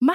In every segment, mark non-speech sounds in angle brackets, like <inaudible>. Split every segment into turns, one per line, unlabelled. ما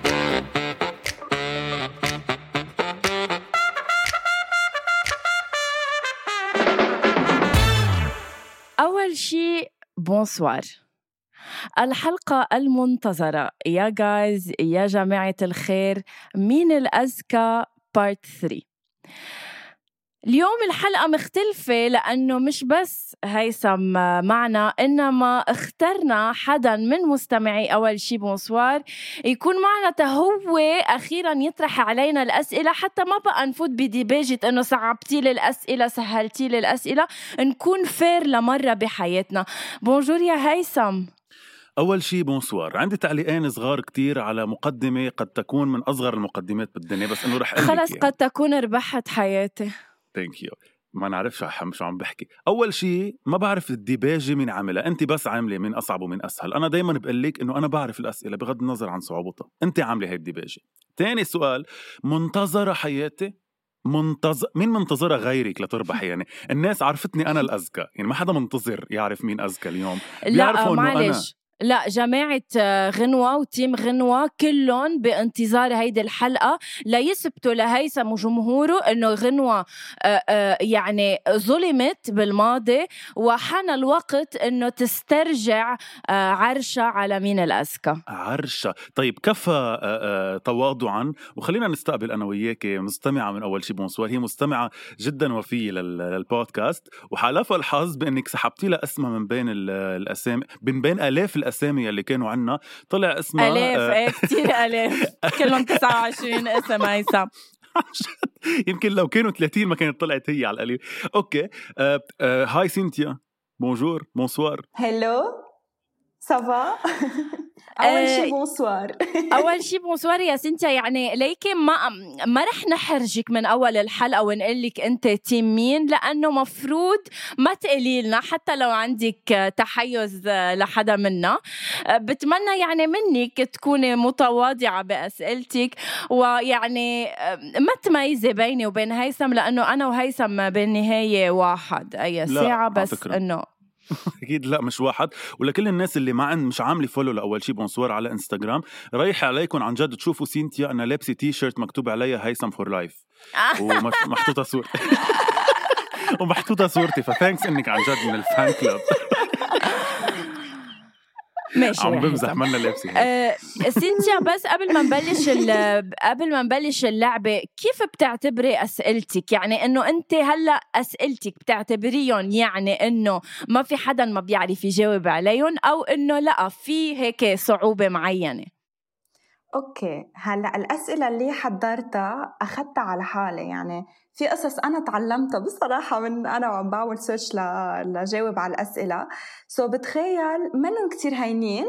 أول شيء بونسوار الحلقة المنتظرة يا جايز يا جماعة الخير مين الأذكى بارت 3 اليوم الحلقة مختلفة لأنه مش بس هيثم معنا إنما اخترنا حدا من مستمعي أول شي بونسوار يكون معنا تهو أخيرا يطرح علينا الأسئلة حتى ما بقى نفوت بديباجة إنه صعبتي لي الأسئلة سهلتي لي الأسئلة نكون فير لمرة بحياتنا بونجور يا هيثم
أول شي بونسوار عندي تعليقين صغار كتير على مقدمة قد تكون من أصغر المقدمات بالدنيا بس إنه رح
خلص قد تكون ربحت حياتي
ثانك يو ما نعرفش عم شو عم بحكي اول شيء ما بعرف الديباجه مين عاملها انت بس عامله مين اصعب ومين اسهل انا دائما بقول لك انه انا بعرف الاسئله بغض النظر عن صعوبتها انت عامله هاي الديباجه ثاني سؤال منتظره حياتي منتظر مين منتظرها غيرك لتربح يعني الناس عرفتني انا الاذكى يعني ما حدا منتظر يعرف مين اذكى اليوم
لا
بيعرفوا إنه أنا-
معلش لا جماعة آه، غنوة وتيم غنوة كلهم بانتظار هيدي الحلقة ليثبتوا لهيثم وجمهوره انه غنوة آه، آه، يعني ظلمت بالماضي وحان الوقت انه تسترجع آه، عرشها على مين الأذكى
عرشة طيب كفى آه، آه، تواضعا وخلينا نستقبل أنا وياك مستمعة من أول شي بونسوار هي مستمعة جدا وفية لل- للبودكاست وحالفها الحظ بأنك سحبتي لها اسمها من بين ال- الأسامي من بين آلاف الأسامي اللي كانوا عنا طلع اسمها
آلاف
آه،
ايه كثير
<laughs>
آلاف كلهم 29 اسم هيثم
يمكن لو كانوا 30 ما كانت طلعت هي على القليل أوكي آه، آه، هاي سينتيا بونجور بونسوار
Hello, ça va? <laughs> أول
Euh,
شي بونسوار
اول شيء بونسوار يا سنتيا يعني ليكي ما ما رح نحرجك من اول الحلقه ونقول لك انت تيم مين لانه مفروض ما تقولي لنا حتى لو عندك تحيز لحدا منا بتمنى يعني منك تكوني متواضعه باسئلتك ويعني ما تميزي بيني وبين هيثم لانه انا وهيثم بالنهايه واحد اي
لا،
ساعه
على
بس
فكرة.
انه
اكيد لا مش واحد ولكل الناس اللي ما عند مش عامله فولو لاول شي بونسوار على انستغرام رايح عليكم عن جد تشوفوا سينتيا انا لابسه تي شيرت مكتوب عليها هيثم فور لايف ومحطوطه <laughs> صور ومحطوطه صورتي فثانكس انك عن جد من الفان كلاب
ماشي يا
عم
هيثم.
بمزح منا لابسه هيك.
آه، سينتيا بس قبل ما نبلش ال- قبل ما نبلش اللعبه كيف بتعتبري اسئلتك يعني انه انت هلا اسئلتك بتعتبريهم يعني انه ما في حدا ما بيعرف يجاوب عليهم او انه لا في هيك صعوبه معينه
اوكي هلا الاسئله اللي حضرتها اخذتها على حالي يعني في قصص انا تعلمتها بصراحه من انا وعم بعمل سيرش ل- لجاوب على الاسئله سو بتخيل منهم كتير هينين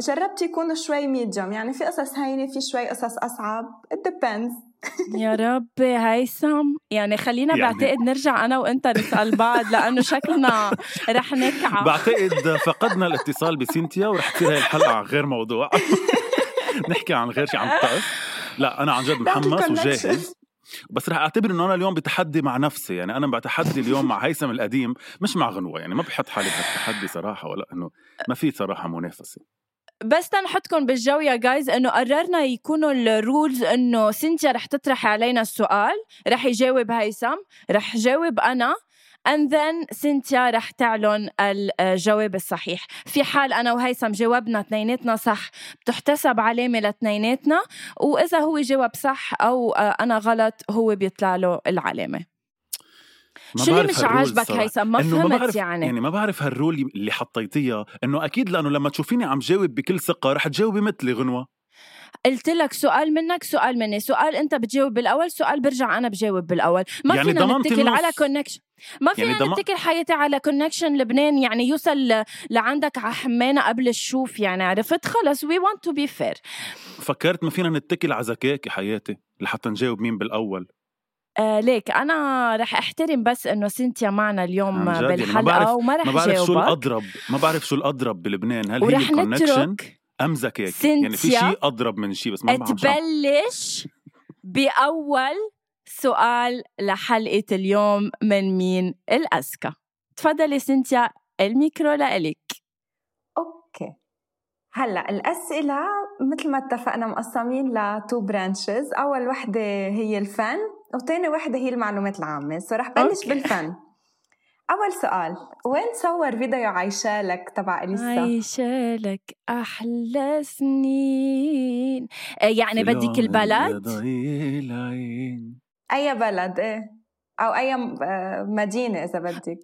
جربت يكونوا شوي ميديوم يعني في قصص هينه في شوي قصص اصعب it depends
يا ربي هيثم يعني خلينا
يعني-
بعتقد نرجع انا وانت نسال بعض لانه شكلنا رح نكعب
بعتقد فقدنا الاتصال بسينتيا ورح تصير هاي الحلقه عن غير
<laughs>
موضوع نحكي عن غير شيء عن الطقس لا انا عن جد
Don't
محمس
connection.
وجاهز بس رح اعتبر انه انا اليوم بتحدي مع نفسي يعني انا بتحدي اليوم مع هيثم القديم مش مع غنوه يعني ما بحط حالي بهالتحدي صراحه ولا انه ما في صراحه منافسه
بس تنحطكم بالجو يا جايز انه قررنا يكونوا الرولز انه سينتيا رح تطرح علينا السؤال رح يجاوب هيثم رح جاوب انا and then سينتيا رح تعلن الجواب الصحيح في حال انا وهيثم جاوبنا اثنيناتنا صح بتحتسب علامه لاثنيناتنا واذا هو جاوب صح او آه، انا غلط هو بيطلع له العلامه
ما
شو اللي مش
بعرف هالرول
عاجبك
الصراحة.
هيثم ما
إنه ما
فهمت
بعرف
يعني
يعني ما بعرف هالرول اللي حطيتيها انه اكيد لانه لما تشوفيني عم جاوب بكل ثقه رح تجاوبي مثلي غنوه
قلت لك سؤال منك سؤال مني سؤال انت بتجاوب بالاول سؤال برجع انا بجاوب بالاول ما
يعني
فينا
ضمنت
نتكل
النص.
على كونكشن ما فينا
يعني ضم-
نتكل حياتي على كونكشن لبنان يعني يوصل ل- لعندك على حمانه قبل الشوف يعني عرفت خلص وي ونت تو بي فير
فكرت ما فينا نتكل على ذكائك يا حياتي لحتى نجاوب مين بالاول
آه ليك انا رح احترم بس انه سنتيا معنا اليوم
عن جد يعني ما
بالحلقه
بعرف-
وما رح
ما بعرف شو
جاوبك
الاضرب ما بعرف شو الاضرب بلبنان هل هي
ورح
كونكشن
نترك
ام ذكاك يعني في
سينثيا
شيء اضرب من شيء بس ما بعرف شو عم-
تبلش باول سؤال لحلقه اليوم من مين الاسكا تفضلي سنتيا الميكرو لإلك
اوكي هلا الاسئله مثل ما اتفقنا مقسمين لتو برانشز اول وحده هي الفن وثاني وحده هي المعلومات العامه سو رح بلش
أوكي.
بالفن اول سؤال وين صور فيديو عايشه لك تبع اليسا
عايشة لك أحلى سنين آه، يعني بدك
يا
البلد
ضئيل عين.
اي بلد ايه او اي م- آه، مدينه اذا بدك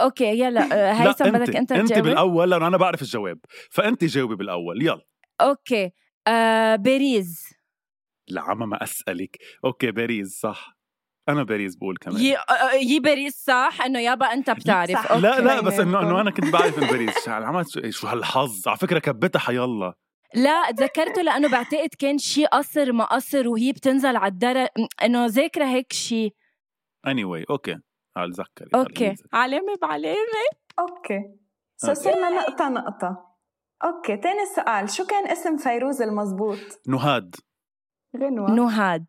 أوكي يلا آه،
لا
هيثم بدك أنت
انت
تجاوب
بالاول لانه انا بعرف الجواب فانت جاوبي بالاول يلا
أوكي آه، باريس
لعما ما اسالك اوكي باريس صح انا باريس بقول كمان
ي... آه، يي باريس صح انه يابا انت بتعرف
صح.
أوكي.
لا لا
أوكي.
بس انه انه انا كنت بعرف انه باريس شو هالعمل- شو- إيه، شو هالحظ على فكره كبتها حيالله
لا تذكرته لانه بعتقد كان شيء قصر ما قصر وهي بتنزل على الدرج انه ذاكره هيك شيء
اني anyway, اوكي هل ذكري
اوكي علامه بعلامه
اوكي سو
أوكي.
صرنا نقطه نقطه اوكي تاني سؤال شو كان اسم فيروز المزبوط
نهاد
غنوه
نهاد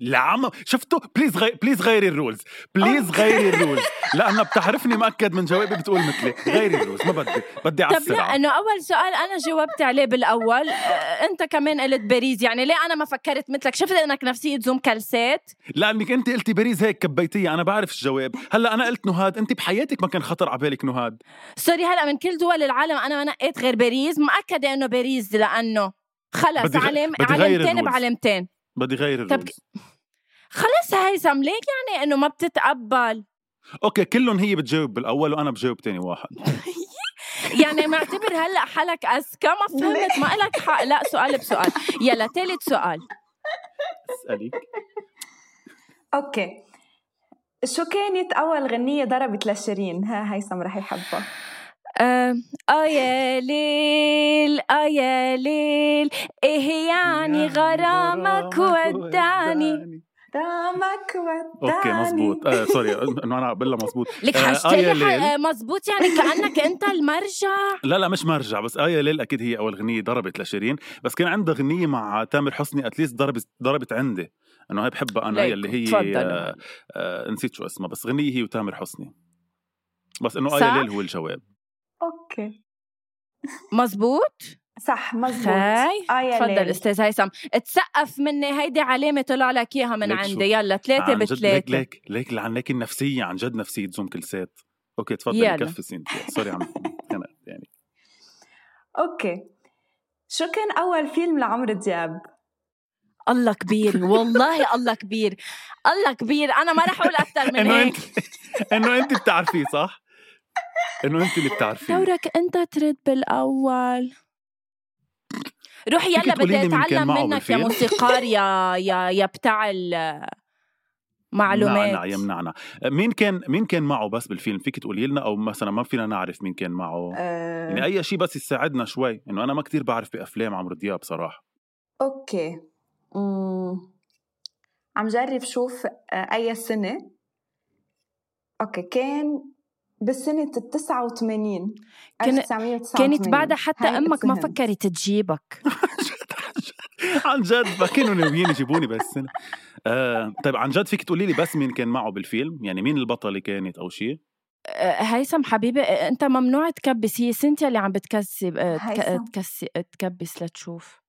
لعما شفتوا بليز غي... بليز غيري الرولز بليز
آه.
غيري الرولز
<laughs>
لانها بتعرفني مأكد من جوابي بتقول مثلي غيري الرولز ما بدي بدي على
طب لا
السرعه
انه اول سؤال انا جاوبت عليه بالاول آه، انت كمان قلت باريس يعني ليه انا ما فكرت مثلك شفت انك نفسيه زوم كلسات
لانك انت قلتي باريس هيك كبيتيها انا بعرف الجواب هلا انا قلت نهاد انت بحياتك ما كان خطر على بالك نهاد
سوري هلا من كل دول العالم انا ما نقيت غير باريس مؤكده انه باريس لانه خلص
بدي غ-
علم
بدي غير
علامتين
الرولز.
بعلامتين
بدي غير
طب
الرولز
خلص هيثم ليك يعني انه ما بتتقبل
اوكي كلهم هي بتجاوب بالاول وانا بجاوب تاني واحد
يعني معتبر هلا حالك اذكى ما فهمت ما لك حق لا سؤال بسؤال يلا ثالث سؤال
اسالك
اوكي شو كانت اول غنيه ضربت لشيرين ها هيثم رح يحبها
آه آه يا ليل آه يا ليل ايه يعني غرامك ودعني
دامك وداني
اوكي مزبوط آه سوري
<laughs>
انه انا بقول لها مزبوط
لك
آه، آه
حشتي
يا
لي
ليل.
ح- آه، مزبوط يعني كانك انت المرجع
لا لا مش مرجع بس آية ليل أكيد هي أول غنية ضربت لشيرين بس كان عندها غنية مع تامر حسني أتليست ضربت ضربت عندي أنه هي بحبها أنا هي اللي هي
تفضل
آه آه نسيت شو اسمها بس غنية هي وتامر حسني بس إنه
صح؟
آية ليل هو الجواب
اوكي
مزبوط
صح مزبوط
خاي
آه يا
تفضل
ليل.
استاذ هيثم تسقف مني هيدي علامه طلع لك اياها من
ليك شو؟
عندي يلا ثلاثه
عن جد ليك
بثلاثه
ليك ليك لعن ليك النفسية عن جد نفسية زوم كلسات أوكي تفضلي
يلا.
كفي سينتيا سوري عم أنا <laughs> يعني
اوكي شو كان اول فيلم لعمرو دياب
الله كبير والله الله كبير الله كبير انا ما رح اقول اكثر من
إنه
هيك
أنت إنه أنت بتعرفيه صح؟ إنه أنت اللي بتعرفيه
دورك انت ترد بالاول روح
فيك
يلا
تقولي
بدي
لي مين كان
اتعلم
معه
منك يا
بالفيلم؟
موسيقار يا يا يا بتاع
يمنعنا
المعلومات
يمنعنا مين كان مين كان معه بس بالفيلم فيك تقولي لنا او مثلا ما فينا نعرف مين كان معه
آه،
يعني اي شيء بس يساعدنا شوي انه انا ما كتير بعرف بافلام عمرو دياب صراحه
اوكي أمم. عم جرب شوف آه، اي سنه اوكي كان بسنة ال 89
كان-
1989
كانت بعدها حتى
هاي
امك ما
اتسهلت.
فكرت تجيبك
<laughs> عن جد ما كانوا ناويين يجيبوني بس آه طيب عن جد فيك تقولي لي بس مين كان معه بالفيلم يعني مين البطله كانت او شيء
أه، هيثم حبيبي أه، انت ممنوع تكبس هي سنتيا اللي عم بتكسب أه، تك-
هيثم.
تكسي أه، تكبس لتشوف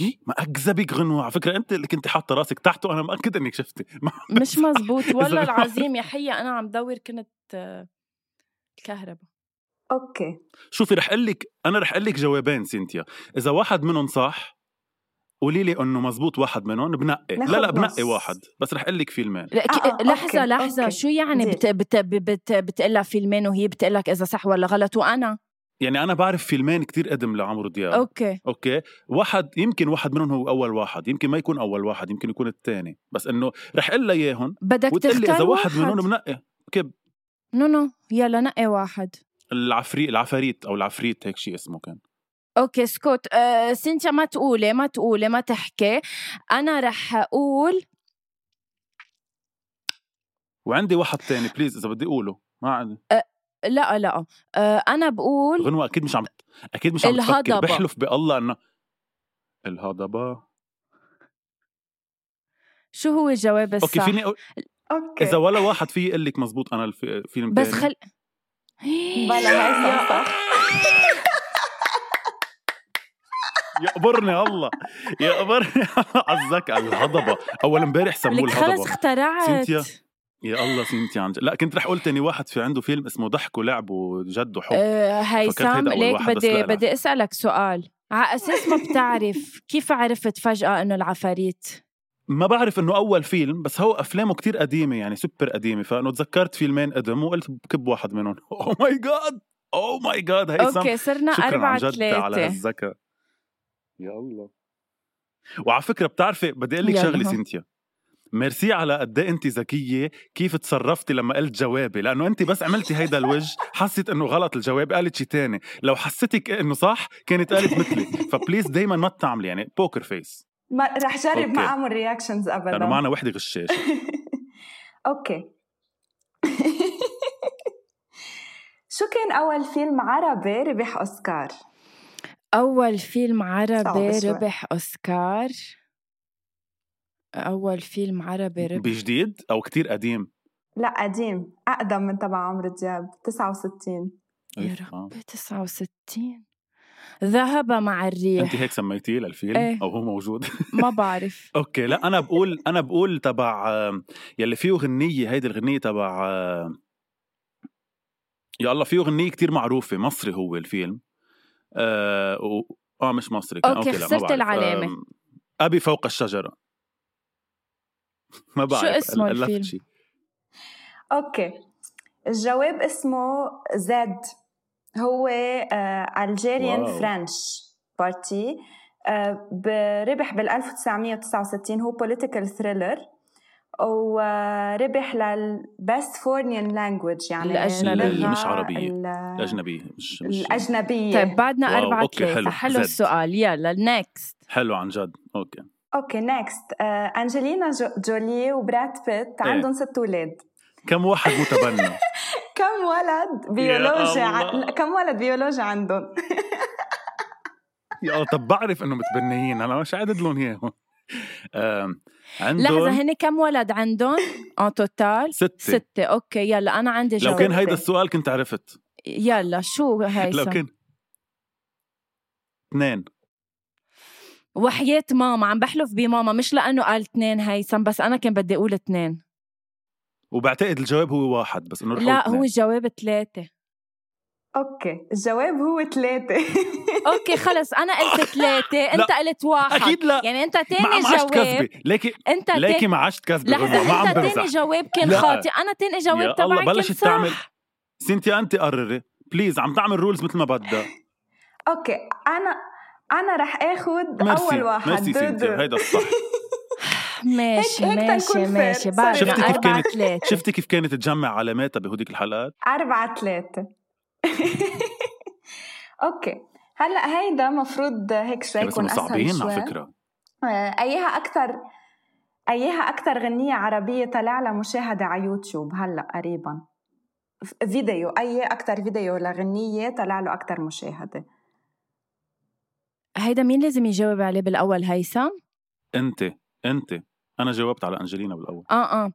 إيه؟ ما اكذبك غنوه على فكره انت اللي كنت حاطه راسك تحته انا مأكد انك شفتي ما
مش
<laughs>
مزبوط والله
إذا-
العظيم يا حية انا عم دور كنت أه، الكهرباء
اوكي
شوفي رح اقول لك انا رح اقول لك جوابين سينتيا اذا واحد منهم صح قولي لي انه مزبوط واحد منهم بنقي لا لا
ناخد
بنقي
نص.
واحد بس رح اقول لك فيلمين
لا، ك-
آه، آه،
لحظة
أوكي،
لحظة
أوكي.
شو يعني
زين.
بت بت بت بتقلها فيلمين وهي بتقلك إذا صح ولا غلط وأنا
يعني انا بعرف فيلمين كتير قدم لعمرو دياب
أوكي
اوكي واحد يمكن واحد منهم هو اول واحد يمكن ما يكون اول واحد يمكن يكون الثاني بس انه رح اقول لها اياهم
بدك
وتقول لي
تختار
اذا واحد منهم بنقي
نو نو يلا نقي واحد
العفريت العفاريت او العفريت هيك شيء اسمه كان
اوكي سكوت أه سنتيا ما تقولي ما تقولي ما تحكي انا رح اقول
وعندي واحد تاني بليز اذا بدي اقوله ما عندي
لا لا أه انا بقول
غنوة اكيد مش عم اكيد مش عم تفكر
الهضبة.
بحلف بالله انه الهضبة
شو هو الجواب الصح
اوكي فيني أقول...
اوكي
اذا ولا واحد في يقول لك مزبوط انا الف- الفيلم
بس
تاني.
خل
بلا هيثم صح
يقبرني الله يقبرني عزك على الهضبة اول امبارح سموه
لك خلص
الهضبة
اخترعت
سنتيا. يا الله سنتي عن جد. لا كنت رح اقول تاني واحد في عنده فيلم اسمه ضحك ولعب وجد وحب
أه
فكرت
هيثم
هيدا أول
ليك
واحد، بس لا،
بدي
لا.
بدي اسالك سؤال على اساس ما بتعرف <laughs> كيف عرفت فجاه انه العفاريت
ما بعرف انه اول فيلم بس هو افلامه كتير قديمه يعني سوبر قديمه فانه تذكرت فيلمين قدم وقلت كب واحد منهم <laughs> Oh او ماي جاد او ماي جاد هيثم
اوكي صرنا
شكرا عن
أربعة
جد على
ثلاثة
هالذكاء يا الله وعلى فكره بتعرفي بدي اقول لك
يلا.
شغله سينتيا ميرسي على قد ايه انت ذكيه كيف تصرفتي لما قلت جوابي لانه انت بس عملتي هيدا الوجه حسيت انه غلط الجواب قالت شي تاني لو حسيتك انه صح كانت قالت مثلي
<laughs>
فبليز دايما ما تعملي يعني بوكر فيس
ما رح جرب
أوكي.
ما اعمل رياكشنز
لانه
ابدا <laughs>
معنا وحده غشاشه
اوكي <laughs> شو كان اول فيلم عربي ربح اوسكار؟
أول فيلم
صعب
عربي
شوي.
ربح أوسكار أول فيلم عربي ربح
بجديد او كتير قديم
لا قديم اقدم من تبع عمرو دياب 69
يا
آه.
ربي 69 ذهب مع
انت
الريح
هيك سميتيه للفيلم
إيه.
او هو موجود
ما
<laughs>
بعرف
اوكي لا انا بقول انا بقول تبع آه، يلي فيه غنيه هيدي الغنيه تبع آه، يا الله فيه غنيه كتير معروفه مصري هو الفيلم اه, و... آه مش مصري كان.
أوكي،
لا، ما
خسرت
بعرف.
العلامة.
آم، ابي فوق الشجره ما بعرف
اسمه
ألفت
الفيلم؟
شي.
اوكي الجواب اسمه زد هو آه، الجيريان
واو.
فرنش بارتي آه، ربح بال 1969 هو بوليتيكال ثريلر وربح للبست فورنيان لانجويج يعني
الأجنبية.
اللغة
مش عربية.
ال-
الاجنبيه مش مش
الأجنبية
طيب بعدنا
واو،
أربعة
أوكي، حلو.
ثلاثة حلو
زد.
السؤال يلا نيكست
حلو عن جد اوكي
اوكي نيكست أنجلينا جو- جولي وبراد بيت
إيه.
عندهم ست أولاد
كم واحد متبنى
كم ولد بيولوجي
الله.
عن... لا، كم ولد بيولوجي عندهم
يا الله طب بعرف انه متبنيين انا مش عدد لهم اياهم آم،
لحظة
عندهم
هن كم ولد
<laughs>
عندهم؟ أن توتال؟
ستة
ستة أوكي يلا أنا عندي
لو
جواب
كان هيدا
جاوبتي.
السؤال كنت عرفت
يلا شو
لو
هيثم
كان اثنين
وحياة ماما عم بحلف بماما مش لأنه قال اثنين هيثم بس أنا كان بدي أقول اثنين
وبعتقد الجواب هو واحد بس انه رح
لا
أقول
هو
اثنين.
الجواب ثلاثة
اوكي الجواب هو ثلاثة <laughs>
أوكي خلص أنا قلت
<laughs>
ثلاثة أنت قلت واحد
اكيد لا
يعني أنت
ما
تاني
ما عشت
جواب
كذبه ليكي
أنت
ليكي
تاني
ما عشت كذبه غنوة، ما
لحظة
عم
أنت تاني
بمزح
جواب كان
لا.
خاطئ أنا تاني
يا
جواب
الله
تبعك كان
بلشت
صح
تعمل سنتي انت قرري بليز عم تعمل رولز مثل ما
<laughs>
بدها
اوكي انا انا رح اخد
ميرسي
اول واحد
ميرسي
دو
سنتي
دو.
<laughs>
هيدا الصح
ماشي
هيك- هيك
ماشي
تنكون fair.
ماشي
Sorry.
بعد
شفتي كيف
أربعة
كانت-
ثلاثة
شفتي كيف كانت تجمع علاماتها بهوديك الحلقات
أربعة ثلاثة <laughs> اوكي هلا هيدا مفروض هيك شوي
بس
يكون
انه
اسهل
صعبين
شوي
على فكره
آه، ايها اكثر ايها اكثر غنية عربية طلع لها مشاهدة على يوتيوب هلا قريبا ف- فيديو اي اكثر فيديو لغنية طلع له اكثر مشاهدة
هيدا مين لازم يجاوب عليه بالأول هيثم؟
انت انت انا جاوبت على انجلينا بالاول
آه آه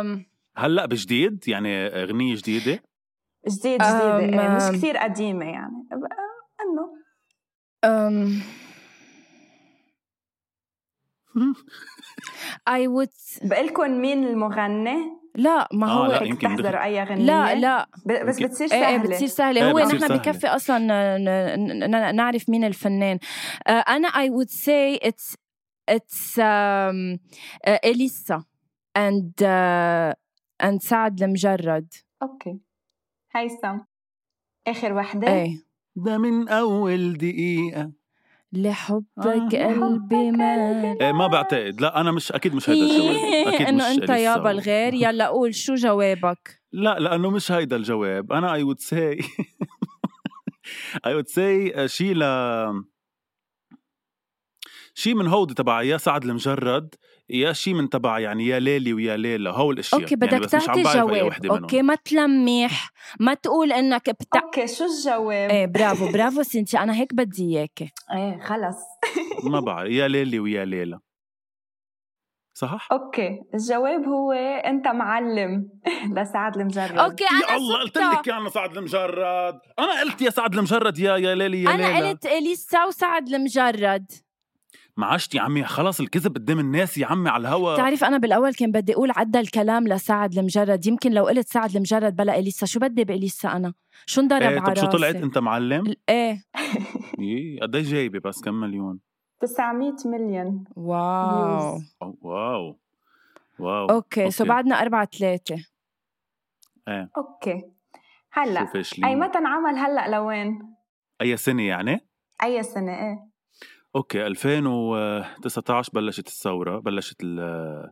أم
هلا بجديد يعني اغنيه جديده
جديد جديدة
أم،
إيه،
أم.
مش كثير قديمة يعني ب- آه، انه
أم I would
بقلكن مين المغني
لا ما
آه،
هو
لا،
لا
يمكن
تحضروا
دخل.
اي غنية
لا, لا
ب- بس
يمكن.
بتصير
إيه إيه
سهلة
بتصير سهلة
إيه،
هو
بتصير
نحن
سهلة.
بكفي أصلا ن- ن- ن- نعرف مين الفنان آه، أنا I would say it's it's um, uh, إليسا and uh, and سعد المجرد
اوكي هيثم آخر وحدة
إيه
<laughs> ده من أول دقيقة
لحبك
آه.
قلبي ما
إيه ما بعتقد لا أنا مش أكيد مش هيدا الجواب
هي
أكيد مش
انه انت
إليسا.
يابا الغير يلا قول شو جوابك
<laughs> لا لأنه مش هيدا الجواب أنا I would say <laughs> I would say شيء ل شيء من هودي تبع يا سعد المجرد يا شيء من تبع يعني يا ليلي ويا ليلى هو الاشياء
اوكي
يعني
بدك
بس مش
تعطي
عم بعرف أي
جواب
وحدة منهم.
اوكي ما تلميح ما تقول انك بتاع
<laughs> اوكي شو الجواب؟
ايه برافو برافو سنتي انا هيك بدي اياكي
ايه خلص
ما بعرف يا ليلي ويا ليلى صح؟
اوكي الجواب هو انت معلم <laughs> لسعد المجرد
اوكي
يعني يا
انا
الله قلت
ستة.
لك يا انا سعد المجرد انا قلت يا سعد المجرد يا يا ليلي يا
انا
ليلى
قلت اليسا وسعد المجرد
معاشت يا عمي خلص الكذب قدام الناس يا عمي على الهوا
بتعرف انا بالاول كان بدي اقول عدى الكلام لسعد المجرد يمكن لو قلت سعد المجرد بلا اليسا شو بدي باليسا انا شو انضرب
إيه
على
طب شو طلعت
راسي؟
انت معلم؟
ايه
إيه، قد ايه جايبه بس كم مليون؟
900 مليون
واو
views.
أو- واو واو
اوكي سو بعدنا أربعة ثلاثة
اوكي هلا
شوف إيش
اي
لي.
متى انعمل هلا لوين؟
اي سنه يعني؟
اي سنة ايه
اوكي 2019 بلشت الثوره بلشت ال-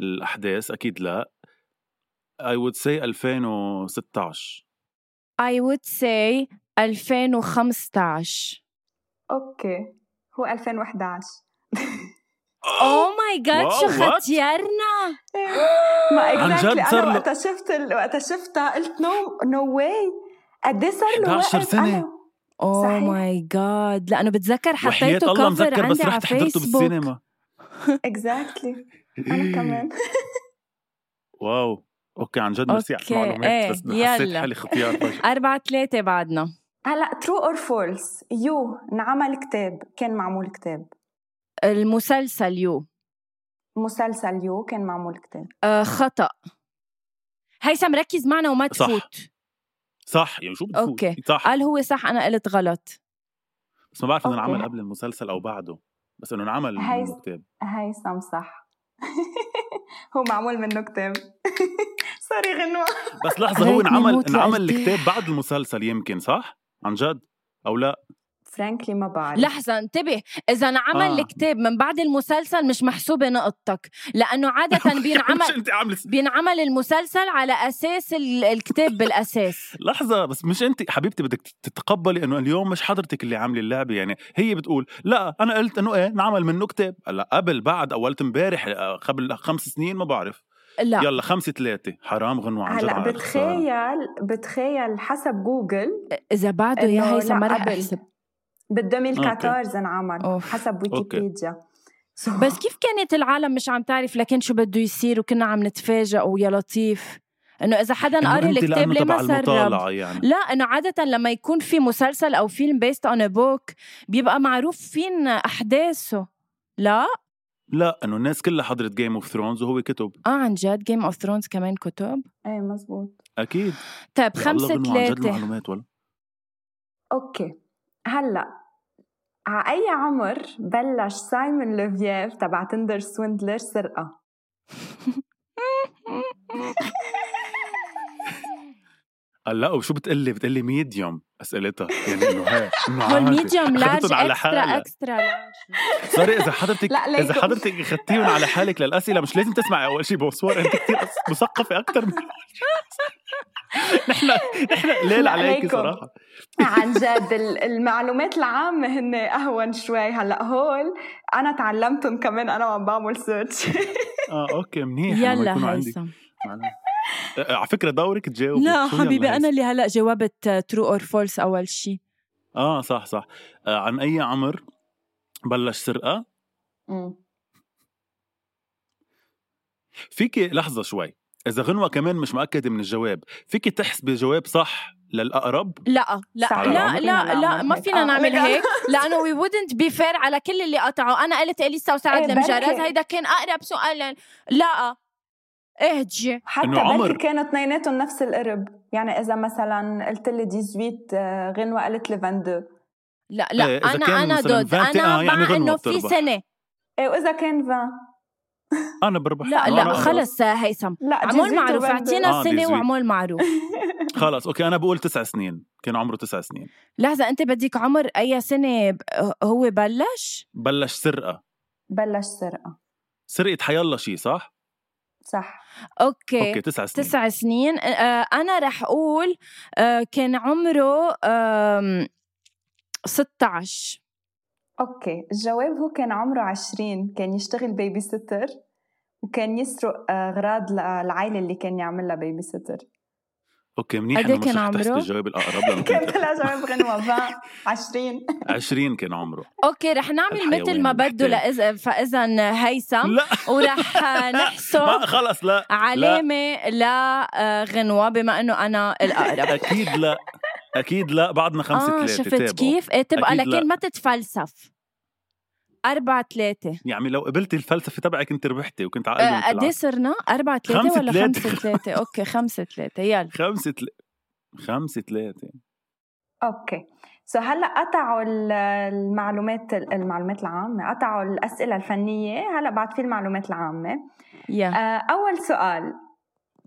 الاحداث اكيد لا I would say 2016
I would say 2015
اوكي هو <laughs> 2011
اوه ماي جاد
آه. واو،
Oh شو
what؟
خطيرنا
ما
عن جد
اكزاكتلي
صار له-
انا وقتها شفت ال... وقتها شفتها قلت نو نو واي قد ايه صار له
11
وقت
سنة.
أنا...
اوه
صحيح.
ماي جاد لانه بتذكر
وحياة
حطيته كفر
الله مذكر بس
عندي على
رحت حضرته
فيسبوك
بالسينما
اكزاكتلي انا
<laughs>
كمان
واو اوكي عن جد ميرسي على
أوكي،
المعلومات
إيه،
بس حسيت
يلا.
حالي ختيار فجأة.
أربعة ثلاثة بعدنا
هلا ترو اور فولس يو انعمل كتاب كان معمول كتاب
المسلسل يو
مسلسل يو كان معمول كتاب
آه خطأ هيثم ركز معنا وما
صح.
تفوت
صح يعني شو بتفوت
أوكي.
صح
قال هو صح أنا قلت غلط
بس ما
آه،
بعرف انه
أوكي.
انعمل
يعني
قبل المسلسل او بعده بس انه انعمل
هاي-
منه كتاب
هيثم صح <laughs> هو معمول منه كتاب <laughs> سوري غنوة
بس لحظه هو
عليك
انعمل
نموت
انعمل
لقلبي.
الكتاب بعد المسلسل يمكن صح؟ عن جد او لا
فرانكلي ما بعرف
لحظة انتبه إذا انعمل
آه.
آه. الكتاب من بعد المسلسل مش محسوبة نقطتك لأنه
<laughs>
عادة
يعني مش
بينعمل
انت عامله
بينعمل المسلسل على أساس ال- الكتاب بالأساس
لحظة بس مش انت حبيبتي بدك تتقبلي انه اليوم مش حضرتك اللي عامله اللعبة يعني هي بتقول لا انا قلت انه ايه نعمل منه كتاب هلا قبل بعد اولت امبارح آه، قبل خمس سنين ما بعرف
لا
يلا خمسة ثلاثة حرام غنوة عن جد
هلا
على الخسارة.
بتخيل بتخيل حسب جوجل
إذا بعده
إنه
يا هيثم ما
لا،
رح
قبل.
أحسب
بال 2014 انعمل
أوف.
حسب ويكيبيديا So-
بس كيف كانت العالم مش عم تعرف لكن شو بده يصير وكنا عم نتفاجئ ويا لطيف انه اذا حدا
إنه
قرا
انت
الكتاب
لانه
ليه
تبع
ما سرب
المطالعة يعني
لا انه عادة لما يكون في مسلسل او فيلم based on a book بيبقى معروف فين احداثه لا
لا انه الناس كلها حضرت جيم اوف ثرونز وهو كتب
اه عن جد جيم اوف ثرونز كمان كتب
ايه مزبوط
اكيد
طيب
يا الله
خمسة
غنوة، عن جد
ثلاثة
المعلومات ولا
اوكي هلا على اي عمر بلش سايمون لوفييف تبع تندر سويندلر سرقه
قال لا وشو بتقلي بتقلي ميديوم اسئلتها يعني انه هي انه
هول
عادي. <laughs>
ميديوم لارج
أخذتهم على
اكسترا
حالها.
اكسترا
سوري اذا حضرتك
لا، ليكم.
اذا حضرتك اخذتيهم على حالك للاسئله مش لازم تسمعي اول شيء بونسوار انت كثير مثقفه اكثر من <laughs> نحن نحن ليل
لا،
عليك
ليكم.
صراحه
<laughs> عن جد ال- المعلومات العامة هن أهون شوي هلا هول أنا تعلمتهم كمان أنا وعم بعمل سيرش
<laughs>
اه اوكي منيح <laughs> لما يكونوا
يلا
عندي
هيثم
معلومات. آه، على فكره دورك تجاوب
لا حبيبي انا اللي هلا جاوبت ترو اور فولس اول شيء
اه صح صح آه عن اي عمر بلش سرقه فيكي لحظه شوي اذا غنوه كمان مش مؤكده من الجواب فيكي تحسبي جواب صح للاقرب
لا لا
صح.
لا
ما
فينا
لا لا
نعمل
ما
هيك.
فينا
آه،
نعمل <laughs>
لك-
هيك لانه وي wouldn't بي فير على كل اللي قطعوا انا قلت اليسا وسعد
إيه، بركي.
المجرد هيدا كان اقرب سؤال لا إيه، اهجي
حتى
إنه عمر.
بلكي كانوا اثنيناتهم نفس القرب يعني اذا مثلا قلت لي 18 آه، غنوه قالت لي 22
لا لا
إيه، إذا كان
انا انا
مثلاً
ضد
20
انا
آه، يعني
مع
غنوة
انه في
بتربح.
سنه
ايه واذا كان 20
انا بربح
لا
أنا-
لا
أنا-
خلص هيثم
لا
عمول
18
معروف
و 22.
آه،
اعطينا سنه
18.
وعمول معروف
<laughs> <laughs> خلص اوكي انا بقول تسع سنين كان عمره تسع سنين
لحظه انت بدك عمر اي سنه ب- هو بلش
بلش سرقه
بلش سرقه
سرقه حيالله شيء صح؟
صح
اوكي,
اوكي تسع سنين
إيه، تسع سنين آه، انا رح اقول آه، كان عمره آم، 16
اوكي الجواب هو كان عمره 20 كان يشتغل بيبي ستر وكان يسرق آه، اغراض للعائله اللي كان يعملها بيبي ستر
اوكي منيح
قد
انه
إيه
مش
كان
رح تحسب
عمره؟
الجواب الاقرب
<laughs>
لأنه
<laughs> كان
كنت-
طلع جواب غنوه 20 20
20 كان عمره
<laughs> اوكي رح نعمل
الحيوان
مثل ما بده
المحتال.
لإذا فاذا هيثم
<laughs> لا
<laughs> ورح
ما
نحسب
خلص لا
علامة لغنوة بما انه انا الاقرب
اكيد لا اكيد لا بعدنا خمسة
اه
ثلاثة
شفت
تابعوا.
كيف؟ ايه تبقى
أكيد لا.
لكن ما تتفلسف أربعة ثلاثة
يعني لو قبلت الفلسفة تبعك انت ربحتي وكنت عقل
آه، قد ايه
قديش
صرنا؟ أربعة ثلاثة
أيوة، خمسة
ولا
تلاتة.
خمسة
<laughs>
ثلاثة؟ اوكي خمسة ثلاثة يلا
خمسة تل... خمسة ثلاثة
اوكي سو هلا قطعوا ال- المعلومات المعلومات العامه قطعوا الاسئله الفنيه هلا بعد في المعلومات العامه
أيوة.
يا
آه، اول سؤال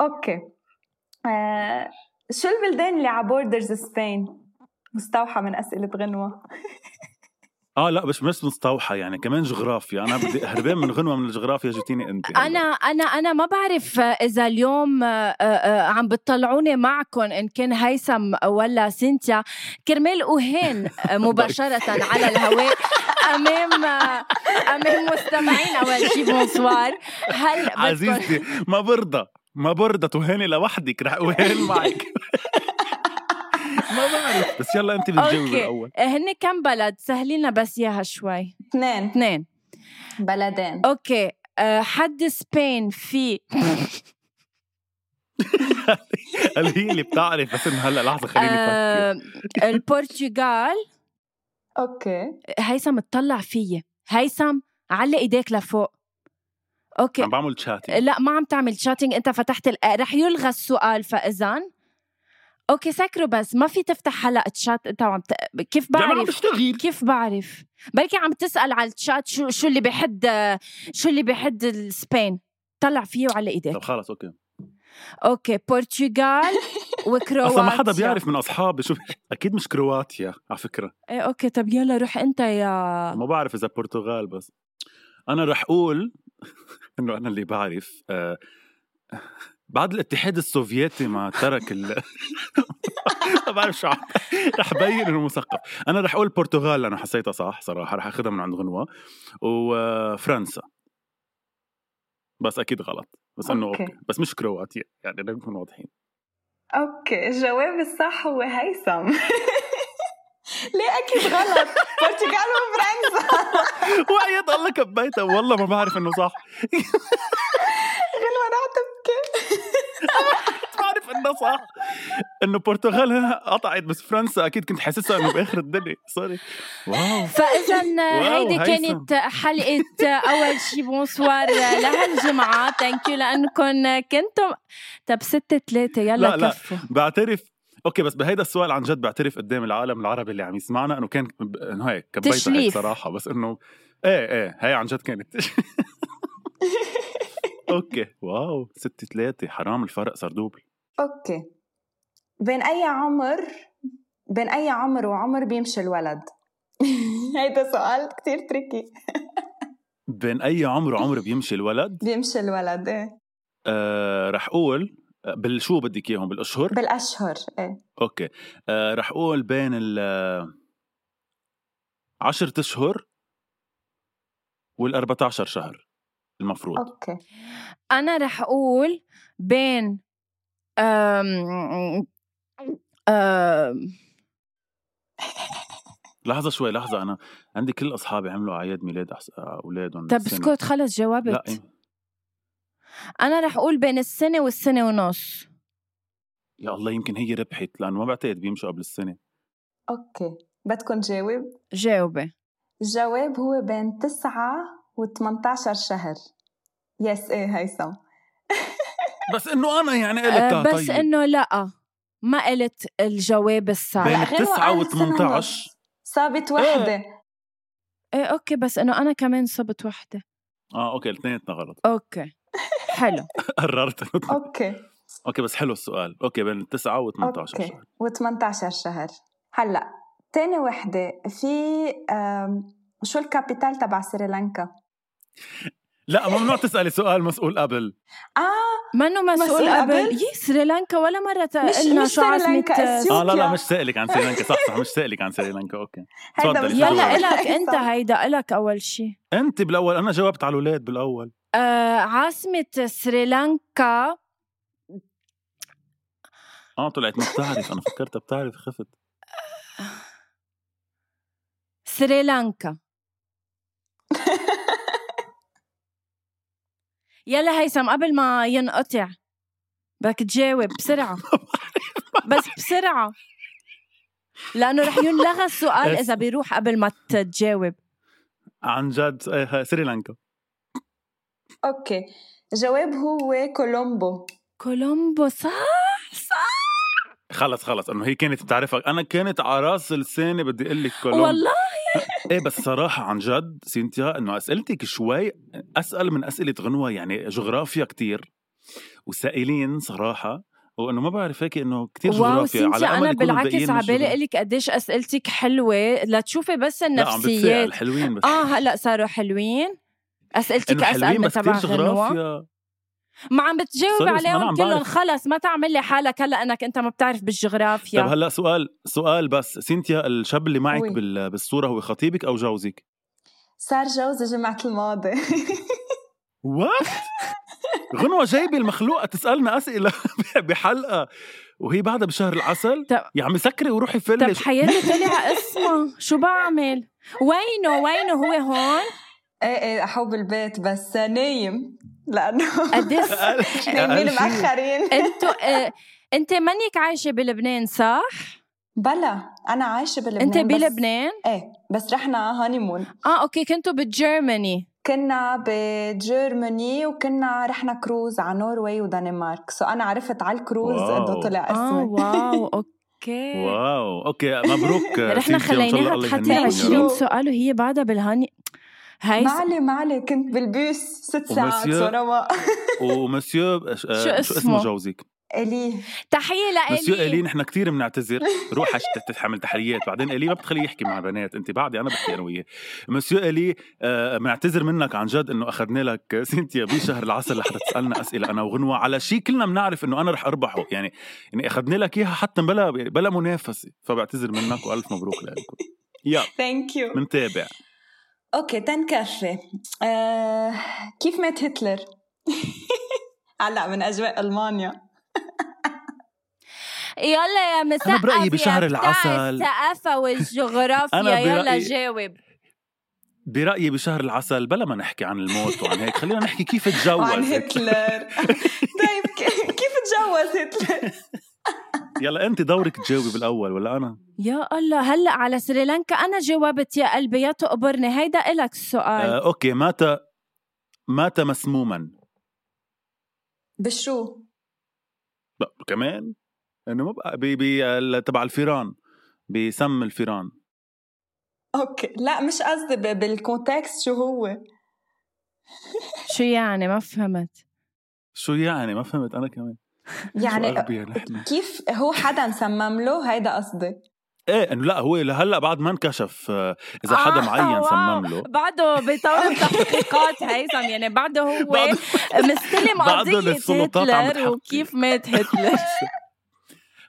اوكي آه، شو البلدان اللي على بوردرز سبين مستوحى من اسئله غنوه
اه لا مش مش مستوحى يعني كمان جغرافيا انا بدي هربان من غنوة من الجغرافيا جبتيني انت
<laughs>
هلا.
انا انا انا ما بعرف اذا اليوم آه، آه، عم بتطلعوني معكم ان كان هيثم ولا سينتيا كرمال
<laughs>
اهان مباشره على الهواء امام آه، امام مستمعين اول شيء بونسوار هل بدكم-
عزيزتي ما برضى ما برضى تهاني لوحدك رح
<laughs>
اهان معك ما بعرف بس يلا انت بتجاوبي
أوكي.
الاول
هن إيه، كم بلد سهلينا بس اياها شوي
اثنين
اثنين
بلدين
اوكي آه، حد سبين في
قال هي اللي بتعرف بس انه هلا لحظه خليني افكر
آه، البرتغال
اوكي
هيثم اطلع فيي هيثم علق ايديك لفوق اوكي
عم بعمل تشاتي
لا ما عم تعمل شاتنج انت فتحت ال... آه، رح يلغى السؤال فاذا اوكي سكروا بس ما في تفتح هلا تشات انت وعم ت... كيف
لا ما عم
بعرف
بشتغل
كيف بعرف بلكي عم تسال على الشات شو شو اللي بحد آه، شو اللي بحد السبين طلع فيه وعلى ايديك
طب خلص اوكي
اوكي
<laughs>
برتغال وكرواتيا
اصلا ما حدا بيعرف من اصحابي شو اكيد مش كرواتيا على فكره
ايه اوكي طب يلا روح انت يا
ما بعرف اذا برتغال بس انا رح <laughs> اقول انه انا اللي بعرف آه، بعد الاتحاد السوفيتي ما ترك ال <laughs> ما بعرف شو عم- رح بين انه مثقف انا رح اقول برتغال لانه حسيتها صح صراحه رح اخذها من عند غنوه وفرنسا بس اكيد غلط بس انه
أوكي.
اوكي بس مش كرواتيا يعني نكون واضحين <laughs>
اوكي الجواب الصح هو هيثم <laughs> ليه اكيد غلط برتغال <laughs> وفرنسا
وعيت الله كبيتها والله ما بعرف انه صح
غنوه رح تبكي
بعرف انه صح انه البرتغال هنا قطعت بس فرنسا اكيد كنت حاسسها انه باخر الدنيا سوري واو
فاذا
<laughs> واو،
هيدي
هيثم.
كانت حلقه اول شي بونسوار لهالجمعه ثانك يو لانكم كنتم طب ستة ثلاثة
لا،
يلا
لا.
كفوا
بعترف اوكي بس بهيدا السؤال عن جد بعترف قدام العالم العربي اللي عم يسمعنا انه كان ب- انه هيك كبيتها هيك
تشليف.
صراحه بس انه ايه ايه هي عن جد كانت اوكي واو ستة ثلاثة حرام الفرق صار دوبل
اوكي بين اي عمر بين اي عمر وعمر بيمشي الولد <laughs> هيدا سؤال كتير تريكي
بين اي عمر وعمر بيمشي الولد
بيمشي الولد ايه
آه رح اقول آه، بالشو بدك اياهم بالاشهر
بالاشهر ايه
اوكي آه رح اقول بين ال 10 اشهر وال 14 شهر المفروض
اوكي
انا رح اقول بين أم... أم...
لحظه شوي لحظه انا عندي كل اصحابي عملوا اعياد ميلاد أحس- آه، اولادهم
طب
السنة.
اسكت خلص
لا
جاوبت انا رح اقول بين السنة والسنة ونص
يا الله يمكن هي ربحت لانه ما بعتقد بيمشوا قبل السنه
اوكي بدكم جاوب
جاوبي
إيه
الجواب هو إيه، بين 9 و 18 شهر يس ايه هيثم
بس انه انا يعني قلت
آه،
آه،
بس
طيب
انه لا ما قلت الجواب
بين
الصح
لا، غير
التسعة
وقعت
و 18
صابت وحده
ايه اوكي بس انه انا كمان صبت وحده
اه اوكي الاثنيناتنا غلط <laughs>
اوكي حلو
قررت إنه-
اوكي
اوكي بس حلو السؤال اوكي بين التسعة و 18
اوكي و18 شهر هلا تاني وحده في آم، شو الكابيتال تبع سريلانكا؟
لا ممنوع تسالي سؤال مسؤول قبل
اه <laughs>
منو مسؤول
مسؤول
قبل
قبل؟
يي سريلانكا ولا مرة
آه، مش-
قلنا
مش
شو عاصمة آه،
سريلانكا، أثيوبيا.
اه لا لا مش سائلك عن سريلانكا صح صح مش سائلك عن سريلانكا اوكي
هيدا
تفضلي،
مش <laughs>
يلا
تفضلي.
إلك أنت هيدا إلك أول شي
انت بالاول انا جاوبت على الاولاد بالاول
آه عاصمة سريلانكا
اه طلعت ما بتعرف انا فكرتها بتعرف خفت
<laughs>
سريلانكا يلا هيثم قبل ما ينقطع بدك تجاوب
<laughs>
بسرعة بس بسرعة لأنه رح ينلغى
<laughs>
السؤال إذا بيروح قبل ما تجاوب
عن جد آه، سريلانكا
اوكي جواب هو كولومبو
كولومبو صح صح
خلص خلص انه هي كانت بتعرفك انا كانت على راس لساني بدي اقول لك كولومبو
والله
ايه بس صراحة عن جد سينتيا انه اسئلتك شوي اسأل من اسئلة غنوة يعني جغرافيا كتير وسائلين صراحة وانه ما بعرف هيك انه كتير
واو
جغرافيا
سنتي
على أمل
انا
يكونوا
بالعكس
الباقيين مش
عبالي
جغرافيا. نعم،
لك قديش اسئلتك حلوه لتشوفي بس
لا عم بتسأل
النفسيات
حلوين بس
اه هلا صاروا حلوين اسئلتك
انه
اسال
حلوين
من
بس كتير
تبع غنوة
جغرافيا
ما عم بتجاوب
Sorry، بس ما أنا
عليهم
عم
كلهم
بعرف.
خلص ما تعمل لي حالك هلا انك انت ما بتعرف
طب
بالجغرافيا
طيب، هلا سؤال سؤال بس سينتيا الشاب اللي معك
وي.
بال... بالصورة هو خطيبك او جوزك؟
صار جوزي جمعة الماضي <laughs>
وات <laughs> غنوة جايبة المخلوقة تسألنا أسئلة <laughs> بحلقة وهي بعدها بشهر العسل
طب-
يا عم سكري وروحي
طب <laughs>
فلش
حياتي طلع اسمه شو بعمل وينه وينه هو هون
ايه ايه احو بالبيت بس نايم لانه
<laughs> قديش
أقل- <laughs> أقل
<laughs> نايمين
شي.
مأخرين
انتو آه، انت منك عايشه بلبنان صح
بلا انا عايشة بلبنان
انت
بس-
بلبنان
ايه بس رحنا هانيمون
اه اوكي كنتوا بجيرماني
كنا بجيرماني وكنا رحنا كروز على نوروي ودنمارك سو انا عرفت على الكروز
واو.
انه طلع
اه
اسمي
واو اوكي
واو اوكي مبروك
رحنا
سينتيا، وإن شاء الله
خليناها
الله
تحضر
يهنيكم يا رب.
20 سؤال وهي بعدها بالهاني هاي
ما
س-
علي ما علي كنت بالبوس
Oh,
ست ساعات
ومسيو-
صراحة
ومسيو آه، شو
اسمه؟
اسمه جوزك؟
الي
تحيه
مسيو الي
لإلي
نحن كثير بنعتذر روح أشت- تتحمل تحريات بعدين الي ما بتخليه يحكي مع بنات انت بعدي انا بحكي انا وياه مسيو الي آه، بنعتذر منك عن جد انه اخذنا لك سينتيا بشهر العسل لحتى تسالنا اسئله انا وغنوه على شيء كلنا بنعرف انه انا رح اربحه يعني يعني اخذنا لك اياها حتى بلا بلا منافسه فبعتذر منك والف مبروك لكم يا
ثانك يو
منتابع
اوكي تنكفي آه، كيف مات هتلر؟ <laughs> هلا من اجواء المانيا
يلا يا مسقف
أنا برأيي
يا
بشهر
بتاع
العسل.
الثقافه والجغرافيا
<laughs> أنا
يلا
برأيي-
جاوب
برايي بشهر العسل بلا ما نحكي عن الموت وعن هيك خلينا نحكي كيف تجوز
وعن
هتلر.
هتلر
<laughs>
طيب ك- كيف تجوز هتلر؟
يلا انت دورك تجاوبي بالاول ولا انا
يا الله هلا على سريلانكا انا جاوبت يا قلبي يا تقبرني هيدا الك السؤال
آه اوكي مات مات مسموما
بشو؟
لا كمان انه ما بقى بي بي ال- تبع الفيران بسم الفيران
اوكي لا مش قصدي ب- بالكونتكست شو هو
شو يعني ما فهمت
شو يعني ما فهمت انا كمان شو
يعني
أغبياء نحن.
كيف هو حدا سمم له هيدا قصدي
ايه انه لا هو لهلا بعد ما انكشف آه، اذا حدا
آه،
معين
واو.
سمم له
بعده
<laughs>
بيطور تحقيقات هيثم يعني بعده هو
بعد-
مستلم
بعده
قضيه
للسلطات عم
هتلر
بتحقق.
وكيف مات هتلر
<laughs>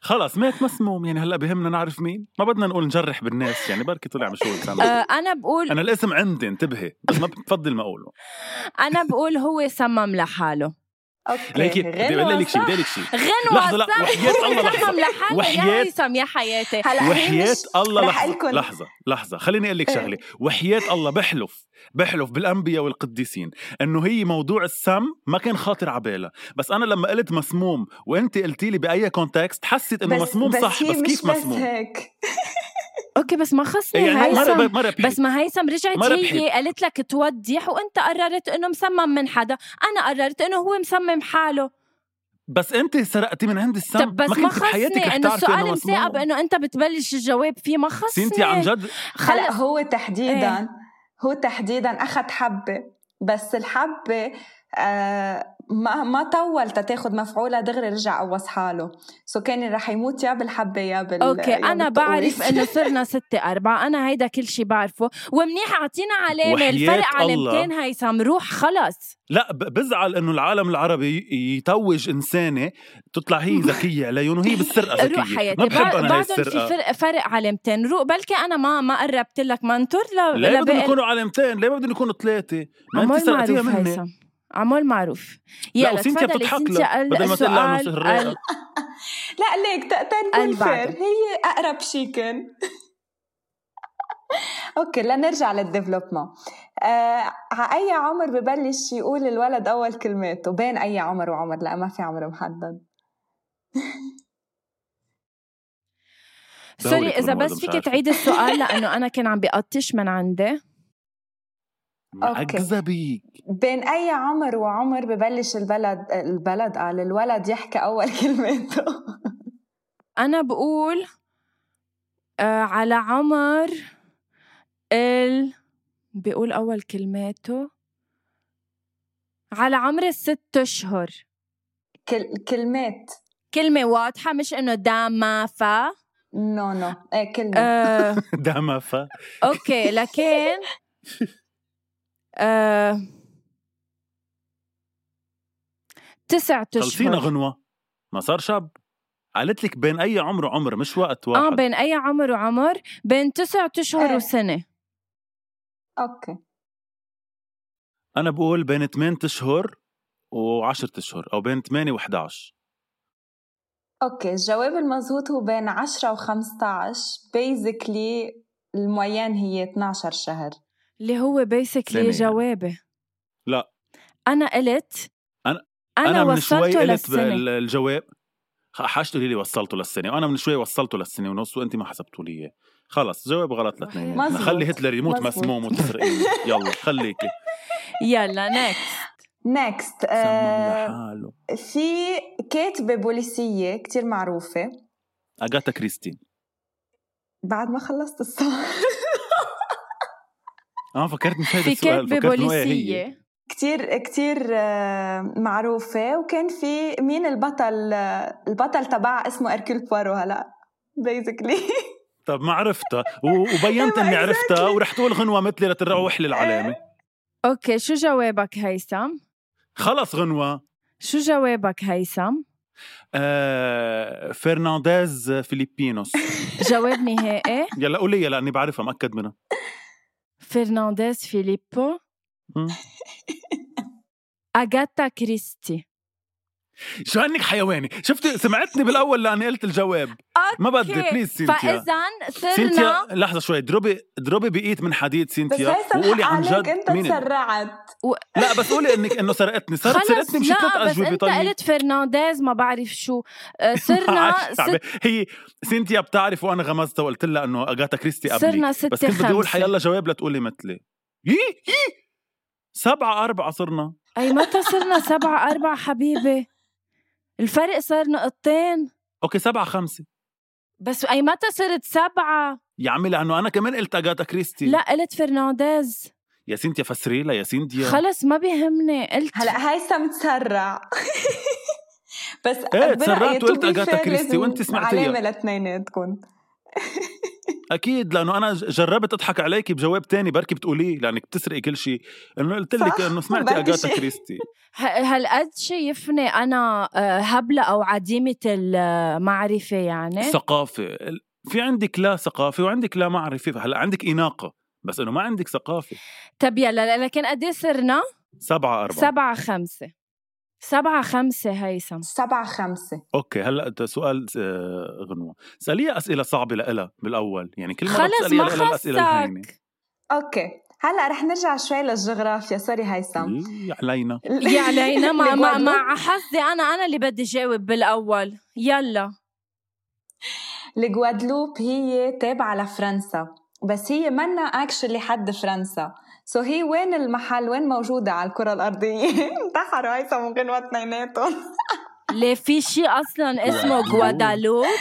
خلص مات مسموم يعني هلا بهمنا نعرف مين ما بدنا نقول نجرح بالناس يعني بركي طلع مش هو اللي سمم.
آه، انا بقول
انا الاسم عندي انتبهي بس ما بفضل ما اقوله
إيه، انا بقول هو صمم لحاله
اوكي
ليكي بدي اقول لك شيء بدي
غنوة
اقول لك شيء
غنوة
لحظة، لا،
صح؟ هو
وحياة الله، لحظة.
صمم لحاله يا
وحياة-
هيثم يا حياتي
صح؟ هلا هي
وحياة
مش-
الله
رح
لحظة
أقلكن.
لحظة لحظة خليني أقول لك
إيه.
شغلة وحياة الله بحلف بحلف بالأنبياء والقديسين إنه هي موضوع السم ما كان خاطر عبالها بس أنا لما قلت مسموم وأنت قلتي لي بأي كونتكست حسيت إنه
بس-
مسموم صح
هي
بس
مش
كيف
بس
مسموم
هيك
اوكي بس ما خصني
إيه يعني ما
هيثم
رب- ما ربحي
بس ما هيثم رجعت
ما
هي
ربحت.
قالت لك توضح وانت قررت انه مصمم من حدا انا قررت انه هو مصمم حاله
بس انت سرقتي من عند السم
طب بس ما
كنت بحياتك
خصني
رح
انه
تعرفي
السؤال
إنه مسموم.
مساقب انه انت بتبلش الجواب فيه ما خصني
سنتي عن جد
هلا
خلص
هو تحديدا
إيه.
هو تحديدا اخذ حبه بس الحبه آه ما ما طول تاخذ مفعولها دغري رجع قوص حاله سو كان رح يموت يا بالحبه يا بال
اوكي
يا
انا
بالتقويس.
بعرف انه صرنا ستة أربعة انا هيدا كل شي بعرفه ومنيح اعطينا علامة
وحياة
الفرق
الله.
علامتين هيثم روح خلص
لا ب- بزعل انه العالم العربي ي- يتوج انسانه تطلع هي ذكيه عليهم وهي بالسرقه ذكيه
روح حياتي
ما بحب
بع-
انا هاي
بعدهم في
السرقه
فرق, فرق علامتين روح بلكي انا ما ما قربت لك منتور لا
ليه بدهم
لباقي-
يكونوا علامتين ليه بدهم يكونوا ثلاثه ما انت
عمول
سرقتيها
معروف
مني
هيثم عمول معروف
لا
يلا
وسنتيا
تفضلي
بتضحك
سنتيا
لها
قال
بدل ما تقول لها انه
السؤال
سهرية.
قال-
لا ليك ت- تنكون
البعض.
فير هي اقرب شيء كان <laughs> اوكي لنرجع للديفلوبمون آه ع اي عمر ببلش يقول الولد اول كلماته بين اي عمر وعمر لا ما في عمر محدد
سوري
دورك
اذا
بالموضوع،
بس
مش
فيك
عارفة.
تعيد السؤال لانه انا كان عم بقطش من عندي
<laughs>
أوكي.
اكذبيك
بين اي عمر وعمر ببلش البلد البلد قال الولد يحكي اول <laughs> كلماته
انا بقول آه على عمر ال بيقول اول كلماته على عمر الست اشهر
كل... كلمات
كلمة واضحة مش انه داما فا
نو نو ايه كلمة
آه
<laughs> دعما ف
اوكي لكن آه تسعة
خلصينا
اشهر
غنوه ما صار شاب قالت لك بين اي عمر وعمر مش وقت
اه
واحد آه.
بين اي عمر وعمر بين تسعة اشهر
إيه.
وسنة
اوكي
انا بقول بين 8 اشهر و10 اشهر او بين 8 و11
اوكي الجواب المضغوط هو بين 10 و15 بيزكلي المويان هي 12 شهر
اللي هو
سنة
بيسكلي
يعني.
جوابي
لا.
انا قلت
أنا-
انا,
انا من شوي
وصلته
قلت
للسنة
بال- الجواب خ- حاج تقولي لي وصلته للسنه وانا من شوي وصلته للسنه ونص وانت ما حسبتوا لي اياه خلص جواب غلط
وحياة
الاثنين
مزبوط.
خلي هتلر يموت
مزبوط.
مسموم وتسرقي
<laughs>
يلا خليكي
يلا
<laughs>
نكست
نيكست
سمم
آه
لحاله
في كاتبة بوليسية كتير معروفة
اغاثا كريستين
بعد ما خلصت الصور
اه فكرت مش هيدا
في
السؤال
كاتبة
فكرت إنه إيه هي.
بوليسية
<laughs> كتير كتير آه، معروفة وكان في مين البطل آه، البطل تبعها اسمه اركيل بوارو هلا بيزكلي
<laughs> طب ما عرفتها و-
<laughs>
وبينت اني
أيوة،
عرفتها
exactly.
ورح تقول غنوه مثلي لتروح لي العلامه
اوكي شو جوابك هيثم
خلص غنوه
شو جوابك هيثم
آه فرنانديز فيليبينوس
جواب نهائي <laughs>
يلا قولي يا لاني بعرفها مأكد منها
فرنانديز فيليبو
مم.
أغاتا كريستي
شو هنك حيواني شفتي سمعتني بالاول لاني قلت الجواب ما بدي
أوكي.
بليز سينتيا
فإذا صرنا
سينتيا لحظه شوي ضربي ضربي بايد من حديد
بس
سينتيا
هيثم
وقولي
حق
عن
عليك
جد
انت
مين ال-
تسرعت
لا بس قولي انك انه سرقتني صارت
خلص
سرقتني مش ثلاث
لا بس
اجوبه
أنت
طيب
قلت فرنانديز ما بعرف شو آه،
<laughs>
صرنا
عشت عبي-
ست
هي سينتيا بتعرف وانا غمزتها وقلت لها انه اغاتا كريستي قبلي
صرنا
بس
ستة
كنت بدي اقول
خمسة
حيلا جواب لتقولي مثلي يي يي سبعة أربعة صرنا
أي متى صرنا سبعة أربعة حبيبي الفرق صار نقطتين
أوكي سبعة خمسة
بس أي متى صرت سبعة
يا عمي لأنه أنا كمان قلت أغاتا كريستي
لا قلت فرنانديز
يا سينتيا فسريلا يا سينتيا
خلص ما بيهمني قلت
هلا هيثم تسرع <laughs> بس
ايه
برأيي
تسرعت وقلت
to be
أغاثا
fair
كريستي
لازم
وأنت سمعتيها.
علامة لتنيناتكم
أكيد لأنه أنا ج- جربت أضحك عليكي بجواب تاني بركي بتقوليه لأنك بتسرقي كل شيء إنه قلت لك
صح،
إنه سمعتي
بركي
أغاتا
شي.
<laughs>
كريستي
ه- هالقد شايفني انا آه، هبله او عديمه المعرفه يعني
ثقافة ال- في عندك لا ثقافة وعندك لا معرفة هلا عندك إناقة بس إنه ما عندك ثقافة
طب يلا لكن قد إيه صرنا
سبعة أربعة
سبعة خمسة سبعة خمسة هيثم
سبعة خمسة
اوكي هلا أنت سؤال آه، غنوه اساليها اسئله صعبه لها بالاول يعني كل مره
خلص
بتساليها
ما
لإلها الاسئله الهينه
خصك
اوكي هلا رح نرجع شوي للجغرافيا سوري هيثم
يي إيه، علينا
يا
يعني
علينا <laughs> مع مع,
الإكوادور.
مع حظي انا انا اللي بدي جاوب بالاول يلا
الجوادلوب هي تابعة لفرنسا بس هي منا اكشلي حد فرنسا سو هي وين <laughs> المحل وين موجودة على الكرة الأرضية انتحروا هيثم وغنوة اثنيناتهم
ليه في شيء
<laughs>
اصلا اسمه غوادالوب
<laughs>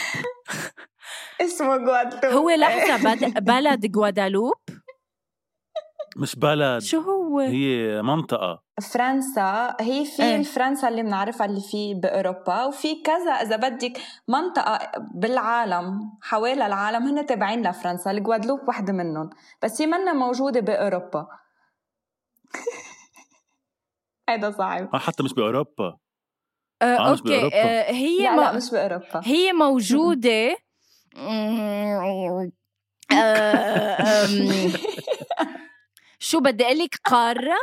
اسمه جوادلوب <laughs>
هو لحظه بد- بلد غوادالوب
مش بلد
شو
آه،
هو
هي منطقة
فرنسا هي في
إيه.
ايه؟ فرنسا اللي بنعرفها اللي في باوروبا وفي كذا اذا بدك منطقه بالعالم حوالي العالم هن تابعين لفرنسا الجوادلوب وحده منهم بس هي منا موجوده باوروبا <laughs> هيدا صعب
آه حتى مش بأوروبا
آه
آه، مش
اوكي
بأوروبا.
آه هي
لا
ما-
لا مش باوروبا
هي
<laughs>
موجودة آه، أم، شو بدي اقول لك قارة؟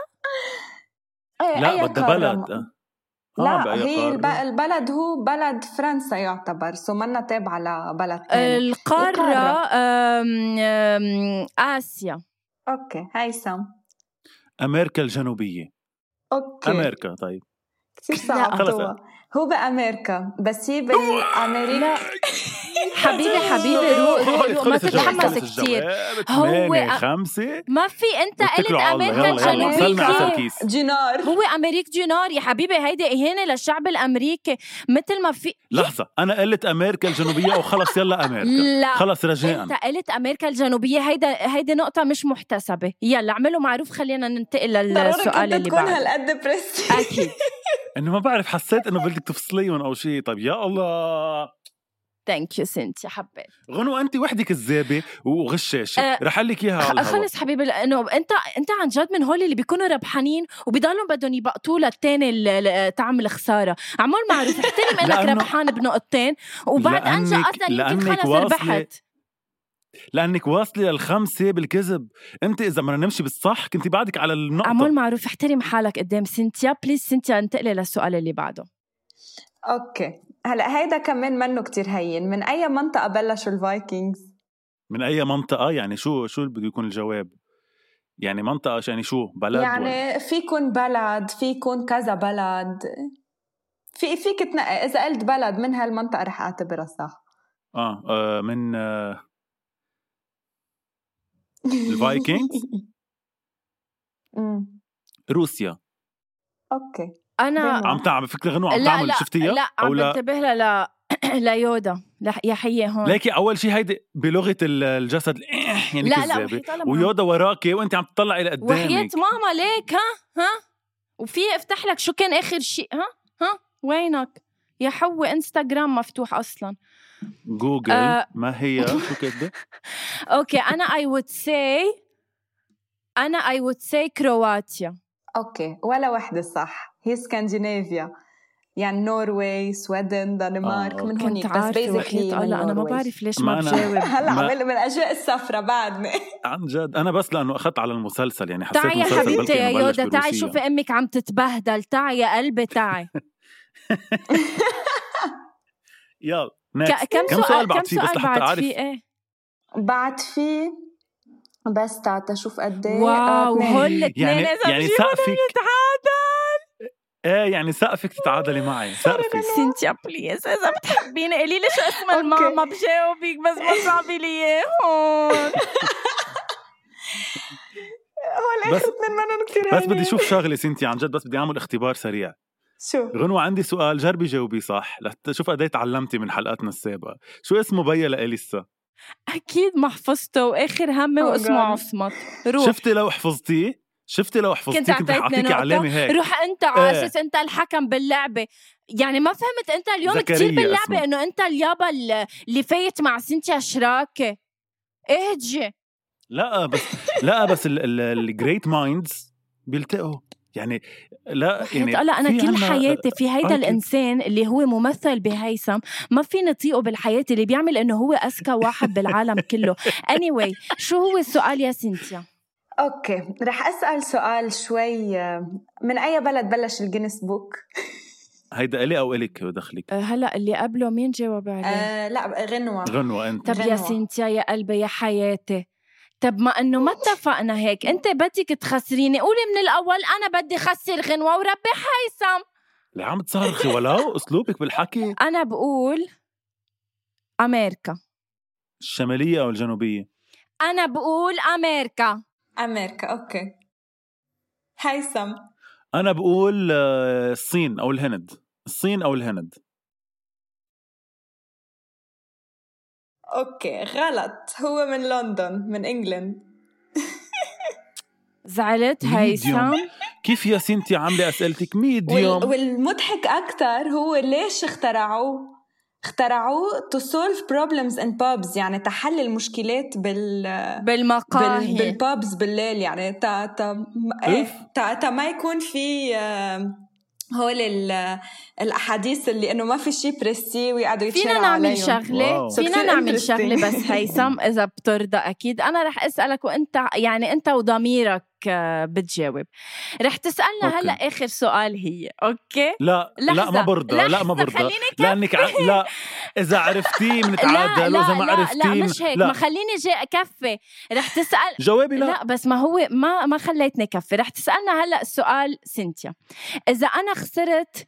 إيه،
لا
أي
بدها
قارة؟
بلد آه
لا
بأي
هي
قارة.
الب... البلد هو بلد فرنسا يعتبر سو منا تابعه لبلد ثاني
القارة
يعني القارة.
أم، أم، آسيا
اوكي هيثم
أمريكا الجنوبية
اوكي
أمريكا طيب
كثير
خلص.
صعبتوها هو بأمريكا بس هي بأمريكا
حبيبي حبيبي
<laughs>
روق روق ما
خلص الجواب،
تتحمس
خلص
كثير
الجواب.
هو
ثمانية،
أ-
خمسة
ما في انت قلت
واتكلوا على الله
امريكا
يلا يلا وصلنا على
الجنوبية
الكيس
دينار
هو امريك دينار يا حبيبي هيدي اهانة للشعب الامريكي مثل ما في
لحظة أنا قلت أمريكا الجنوبية وخلص يلا أمريكا
لا
خلص
انت
رجاء
قلت امريكا الجنوبيه هيدا هيدي نقطه مش محتسبه يلا اعملوا معروف خلينا ننتقل للسؤال اللي
تكون
بعده
هالقد بريس
اكيد
إنه ما بعرف حسيت إنه بدك تفصليهم أو شيء طيب يا الله
ثانك يو سنتي حبيت
غنوة أنت وحدك كذابة وغشاشة
أه،
رح أقول لك إياها على الهوا.
خلص حبيبي لانه انت انت عن جد من هول اللي بيكونوا ربحانين وبضلهم بدهم يبقطوا للتاني ال- ال- طعم الخساره عمول معروف
<laughs>
احترم انك
لأنه-
ربحان بنقطتين وبعد انجا
لأنك-
اصلا يمكن
لأنك
خلص
واصلة-
ربحت
لأنك واصلة للخمسة بالكذب أنت إذا بدنا نمشي بالصح كنت بعدك على النقطة
عمول معروف احترم حالك قدام سنتيا بليز سنتيا انتقلي للسؤال اللي بعده
اوكي هلا هيدا كمان منه كتير هين من اي منطقه بلشوا الفايكنجز
من أي منطقة يعني شو شو بده يكون الجواب يعني منطقة يعني شو بلد ولا-
يعني في يكون بلد في يكون كذا بلد في فيك تنقي اذا قلت بلد من هالمنطقه رح اعتبرها صح
آه, آه من آه
<laughs>
الفايكنجز؟
أمم،
روسيا
اوكي
انا
بينهم.
عم تعمل فكرة غنوة عم تعمل شفتيها
لا
أو
عم
لا؟
بنتبه لها لا ليودا لح- يا حيه هون
ليكي اول شيء هيدي بلغه ال- الجسد يعني
لا لا
كذابه
وحيت الله ما-
ويودا وراكي وانت عم تطلعي
وحياة
لقدامك
ماما ليك ها ها وفي افتح لك شو كان اخر شيء ها ها وينك يا حو انستغرام مفتوح اصلا
جوجل
آه.
ما هي شو كده <laughs>
اوكي انا اي وود سي انا اي وود سي كرواتيا
اوكي ولا وحده صح هي سكندينافيا يعني نروي سويدن دنمارك
آه، أوكي.
من
كنت
هونيك بس
عارفه
بيزكلي
وحياة الله انا ما بعرف ليش ما
ما أنا- <laughs>
بجاوب
هلا
ما-
عمل من اجواء السفرة بعدني
عن جد انا بس لانه اخذت على المسلسل يعني حسيت
تعي يا
المسلسل
حبيبتي
بلكي
يا
إنه بلش
يودا تعي
بروسيا.
شوفي امك عم تتبهدل تعي يا قلبي
<laughs>
تعي
يلا
ك-
next.
كم سؤال
بعد
كم
فيه بس
سؤال
لحتى
بعد
اعرف
في ايه
بعد في بس تعال تشوف قد ايه
واو هول الاثنين
يعني
اذا
يعني
بجيبهم
سقفك
بنتعادل
ايه يعني سقفك تتعادلي
<laughs>
معي سقفك
سنتيا بليز اذا بتحبيني قولي لي شو اسم
أوكي.
الماما بجاوبك بس ما صعبي لي <laughs> اياهم
هول
بس-
اخر اثنين منهم كثير
بس
يعني.
بدي اشوف شغله سنتي عن جد بس بدي اعمل اختبار سريع
شو
غنوة عندي سؤال جربي جاوبي صح لتشوف قد ايه تعلمتي من حلقاتنا السابقه شو اسمه بيا لاليسا
اكيد ما حفظته واخر همي
Oh
واسمه
God.
عصمت روح
شفتي لو حفظتيه شفتي لو حفظتيه
كنت
كنت رح
أعطيتني
اعطيكي
نقطة.
علامه هيك
روح انت على
إيه.
اساس انت الحكم باللعبه يعني ما فهمت انت اليوم كثير
زكريا
باللعبه
اسمه.
انه انت اليابا اللي- اللي فايت مع إيه سنتيا شراكه اهجي
لا بس لا بس الجريت مايندز بيلتقوا يعني لا
وحياة
يعني
الله أنا
في
كل
عنا- آه،
حياتي في هيدا
أوكي.
الإنسان اللي هو ممثل بهيثم ما في نطيقه بالحياة اللي بيعمل إنه هو أذكى واحد بالعالم كله anyway شو هو السؤال يا سنتيا؟
اوكي رح اسال سؤال شوي آه، من اي بلد بلش الجينيس بوك؟
هيدا الي او الك دخلك
أه، هلا اللي قبله مين جاوب عليه؟
آه لا غنوة
<laughs>
غنوة انت
طب يا
غنوة.
سنتيا يا قلبي يا حياتي طب ما انه ما اتفقنا هيك انت بدك تخسريني قولي من الاول انا بدي خسر غنوه وربي هيثم
اللي عم تصرخي ولو اسلوبك بالحكي
انا بقول امريكا
الشماليه او الجنوبيه
انا بقول امريكا
امريكا اوكي هيثم
انا بقول آه، الصين او الهند الصين او الهند
اوكي غلط هو من لندن من انجلند
زعلت هيثم
ميديوم. كيف يا سنتي عامله اسئلتك ميديوم
وال... والمضحك اكثر هو ليش اخترعوه اخترعوه to solve problems in pubs يعني تحل المشكلات بال بال...
بالمقاهي
بالبابز بالليل يعني تا تا
أوف.
إيه، تا, تا ما يكون في آه، هول ال- الاحاديث اللي انه ما في شيء بريستي ويقعدوا يتشارعوا
فينا نعمل
عليهم.
شغله
واو.
So
فينا
كتير
نعمل
interesting.
شغله بس
<laughs>
هيثم اذا بترضى اكيد انا رح اسالك وانت يعني انت وضميرك آه، بتجاوب رح تسالنا
أوكي.
هلا اخر سؤال هي اوكي
لا لا
لحظة.
ما برضى لا
لحظة،
ما برضى
خليني كفي.
لانك ع... لا
<laughs>
اذا عرفتيه
لا
بنتعادل
لا
واذا ما
لا,
عرفتيه
لا
من-
مش هيك ما
لا
خليني جاي اكفي رح تسال
جوابي
لا.
لا,
لا بس ما هو ما ما خليتني كفي رح تسالنا هلا السؤال سنتيا اذا انا خسرت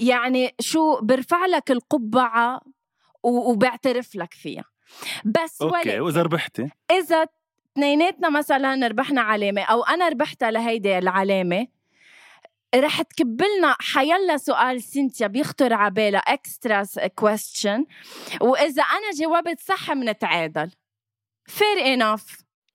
يعني شو برفع لك القبعه و- وبعترف لك فيها بس
اوكي
ولكن
واذا ربحتي
اذا اثنيناتنا مثلا ربحنا علامه او انا ربحت لهيدي العلامه رح تكبلنا حيلا سؤال سنتيا بيخطر على بالها اكسترا كويستشن واذا انا جاوبت صح منتعادل فير انف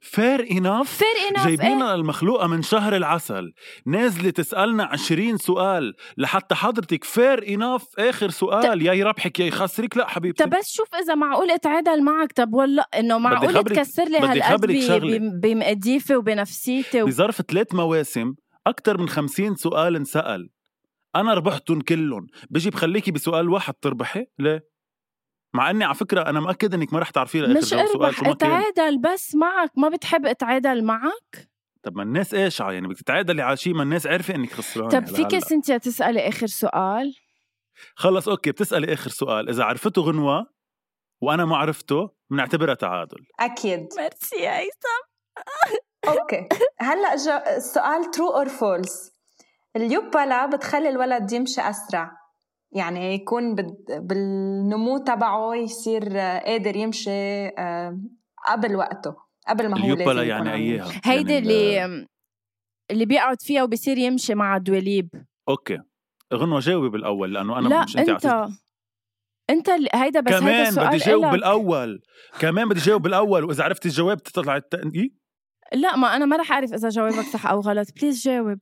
فير اناف
فير انف
جايبينا المخلوقة من شهر العسل نازلة تسألنا عشرين سؤال لحتى حضرتك فير إناف آخر سؤال يا يربحك يا يخسرك لا حبيبتي
طب بس شوف اذا معقول اتعادل معك طب والله انه معقول
خبرك-
تكسر لي
بدي
هالقد
خبرك شغلة.
ب- بمقديفي وبنفسيتي و...
بظرف ثلاث مواسم أكثر من خمسين سؤال انسأل أنا ربحتهم كلهم بيجي بخليكي بسؤال واحد تربحي ليه؟ مع اني على فكره انا مأكد انك ما رح تعرفيه لاخر
مش
جواب سؤال شو
اربح
ما كان
اتعادل بس معك ما بتحب اتعادل معك
طب ما الناس قاشعه يعني بدك تتعادلي على شيء ما الناس عارفه انك خسرانه
طب
هلا
فيك
هلا.
سنتيا تسالي اخر سؤال
خلص اوكي بتسالي اخر سؤال اذا عرفته غنوه وانا ما عرفته بنعتبرها تعادل
اكيد
ميرسي يا هيثم
اوكي هلا جو... السؤال ترو اور فولس اليوبلا بتخلي الولد يمشي اسرع يعني يكون بد... بالنمو تبعه يصير آه، قادر يمشي آه، قبل وقته قبل ما هو
اليوبلا
لازم يكون
يعني
عم يمشي.
اياها
هيدي
يعني ال-
اللي اللي بيقعد فيها وبصير يمشي مع الدوليب
اوكي غنوه جاوبي بالاول لانه انا
لا
مش انت,
انت
عطيتني-
انت اللي- هيدا بس هيدا
كمان بدي
السؤال
جاوب
إلك.
بالاول كمان بدي جاوب بالاول واذا عرفتي الجواب تطلع إيه؟ التنقي
لا ما انا ما رح اعرف اذا جوابك صح او غلط بليز جاوب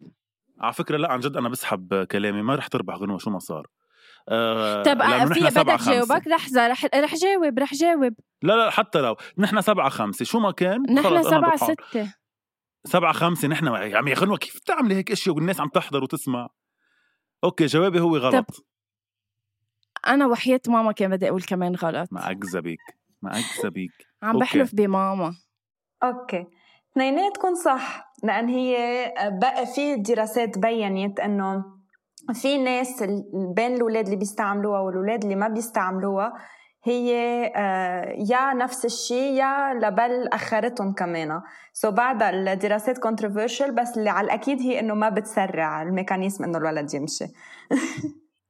على فكره لا عن جد انا بسحب كلامي ما رح تربح غنوه شو ما صار آه
طب
لأنه
في
نحن سبعة
بدك
خمسة.
جاوبك لحظه رح رح جاوب رح جاوب
لا لا حتى لو نحن سبعة خمسة شو ما كان
نحن
خلص أنا
سبعة
ضحان.
ستة
سبعة خمسة نحن يا عمي يا غنوة كيف بتعملي هيك اشياء والناس عم تحضر وتسمع اوكي جوابي هو غلط
أنا وحياة ماما كان بدي أقول كمان غلط
ما اكذبك ما اكذبك
عم
أوكي.
بحلف بماما
اوكي اثنيناتكم صح لان هي آه، بقى في دراسات بينت انه في ناس ال- بين الاولاد اللي بيستعملوها والاولاد اللي ما بيستعملوها هي آه، يا نفس الشيء يا لبل اخرتهم كمان سو بعد الدراسات كونتروفيرشل بس اللي على الاكيد هي انه ما بتسرع الميكانيزم انه الولد يمشي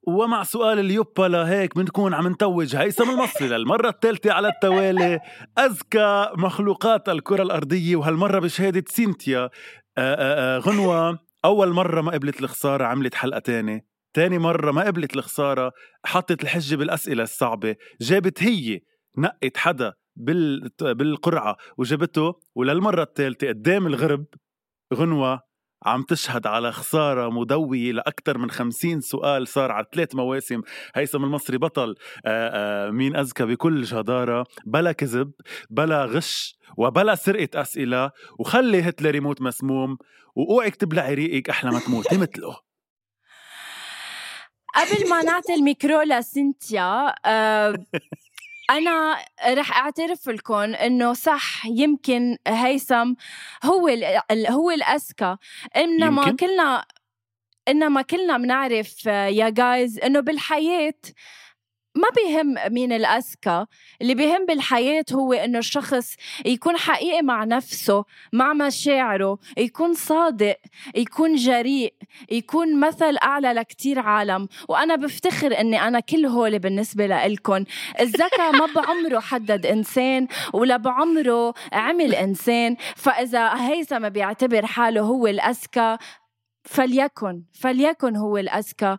ومع سؤال اليوبلا هيك بنكون عم نتوج هيثم المصري للمرة الثالثة على التوالي أذكى مخلوقات الكرة الأرضية وهالمرة بشهادة سينتيا آه، آه، آه، غنوة أول مرة ما قبلت الخسارة عملت حلقة تاني تاني مرة ما قبلت الخسارة حطت الحجة بالأسئلة الصعبة جابت هي نقت حدا بال... بالقرعة وجابته وللمرة الثالثة قدام الغرب غنوة عم تشهد على خسارة مدوية لأكثر من خمسين سؤال صار على ثلاث مواسم هيثم المصري بطل آآ آآ مين أذكى بكل جدارة بلا كذب بلا غش وبلا سرقة أسئلة وخلي هتلر يموت مسموم وأوعك تبلعي ريقك أحلى ما تموتي مثله
قبل ما نعطي الميكرو لسنتيا آه، أنا رح أعترف لكم إنه صح يمكن هيثم هو ال- ال- هو الأذكى إنما
يمكن؟
كلنا إنما كلنا بنعرف آه، يا جايز إنه بالحياة ما بيهم مين الأذكى اللي بيهم بالحياة هو إنه الشخص يكون حقيقي مع نفسه مع مشاعره يكون صادق يكون جريء يكون مثل أعلى لكتير عالم وأنا بفتخر إني أنا كل هول بالنسبة لإلكن الذكاء ما بعمره حدد إنسان ولا بعمره عمل إنسان فإذا هيثم بيعتبر حاله هو الأذكى فليكن فليكن هو الأذكى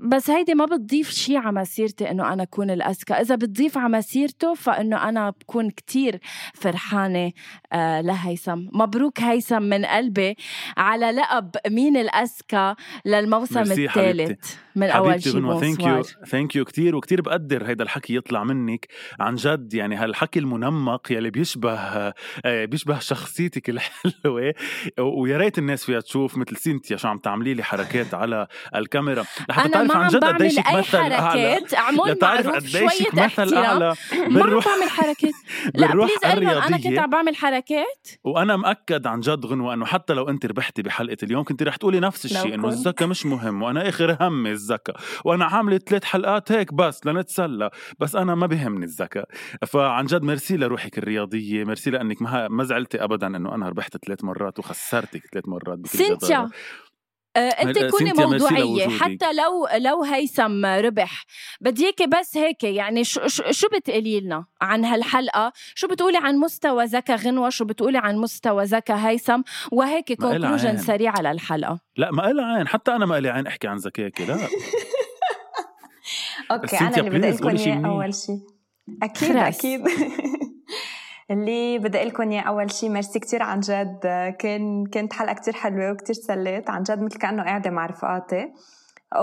بس هيدي ما بتضيف شيء على مسيرتي انه انا اكون الاذكى، اذا بتضيف على مسيرته فانه انا بكون كتير فرحانه آه لهيثم، مبروك هيثم من قلبي على لقب مين الاذكى للموسم
ميرسي حبيبتي.
الثالث من اول شيء
ثانك يو
بونسوار
ثانك يو كثير وكثير بقدر هيدا الحكي يطلع منك عن جد يعني هالحكي المنمق يلي بيشبه آه، بيشبه شخصيتك الحلوه ويا ريت الناس فيها تشوف مثل سينتيا شو عم تعملي لي حركات على الكاميرا لحتى
انا
تعرف
ما
عن
عم
جد قديش
بعمل
شيك
اي
مثل اعلى
حركات عمول
لتعرف
معروف
قديش شيك
شويه
مثل
احترام
اعلى
ما عم
بالروح
بعمل حركات لا
بالروح
بليز أيمن، انا كنت
الرياضيه
عم بعمل حركات
وانا مأكد عن جد غنوه انه حتى لو انت ربحتي بحلقه اليوم كنت رح تقولي نفس
لو
الشيء انه
كنت.
الذكاء مش مهم وانا اخر همي الذكاء وانا عامله ثلاث حلقات هيك بس لنتسلى بس انا ما بهمني الذكاء فعن جد ميرسي لروحك الرياضيه ميرسي لانك ما ما زعلتي ابدا انه انا ربحت ثلاث مرات وخسرتك ثلاث مرات بكل
سينتيا
جدارة.
آه، انت
مر-
كوني
سينتيا، ميرسي
موضوعيه
لوجودك.
حتى لو لو هيثم ربح بدي اياكي بس هيك يعني شو شو, شو بتقولي لنا عن هالحلقه شو بتقولي عن مستوى ذكاء غنوه شو بتقولي عن مستوى ذكاء هيثم وهيك
ما إلها عين.
كونكلوجن سريعه للحلقه
لا ما لها عين حتى انا ما لي عين احكي عن ذكائك لا
اوكي
بس
انا
انت
اللي
please
بدي اقول لكم
قولي شي
اياه
منيح.
اول شيء اكيد
خلاص.
اكيد <laughs> اللي بدي اقول لكم اياه اول شيء ميرسي كثير عن جد كان كانت حلقه كثير حلوه وكثير تسليت عن جد مثل كانه قاعده مع رفقاتي آه،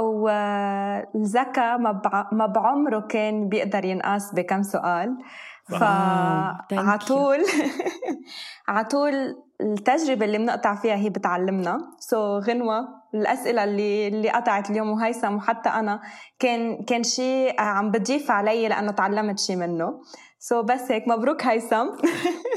والذكاء ما بع- ما بعمره كان بيقدر ينقاس بكم سؤال
Wow,
thank
فعلى
you.
<laughs> طول على طول التجربة اللي بنقطع فيها هي بتعلمنا سو so, غنوة الأسئلة اللي اللي قطعت اليوم وهيثم وحتى أنا كان كان شيء عم بتضيف علي لأنه تعلمت شيء منه سو so, بس هيك مبروك هيثم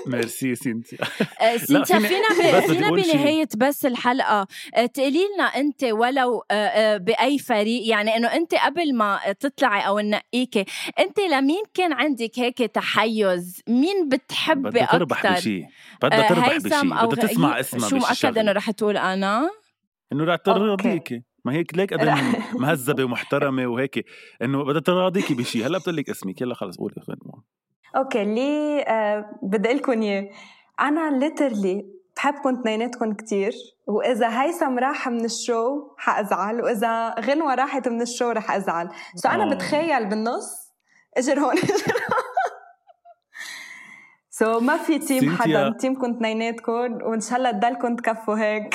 ميرسي سينتيا
آه، سينتيا
فيني-
فينا
بس
ب-
بدي
فينا
أقول شي.
بنهايه بس الحلقه آه، تقولي لنا انت ولو آه، آه، باي فريق يعني انه انت قبل ما تطلعي او ننقيكي انت لمين كان عندك هيك تحيز مين بتحبي
بدها تربح
اكثر
بشيء بدها تربح
آه، هيثم
بشيء
أو
بدها تسمع
غ-
اسمها
شو
بشي
مأكد
شغلة.
انه رح تقول انا؟
انه رح ترضيكي ما هيك ليك قد
رح-
إنها
<laughs>
مهذبه ومحترمه وهيك انه بدها تراضيكي بشيء هلا بتقول لك اسمك يلا خلص قولي غنوة.
اوكي اللي آه بدي اقول لكم اياه انا ليترلي بحبكم اثنيناتكم كتير واذا هيثم راح من الشو حازعل واذا غنوه راحت من الشو رح ازعل سو
آه.
انا بتخيل بالنص اجر هون <laughs> اجر هون سو ما في تيم
سينثيا.
حدا تيمكم اثنيناتكم وان شاء الله تضلكم تكفوا هيك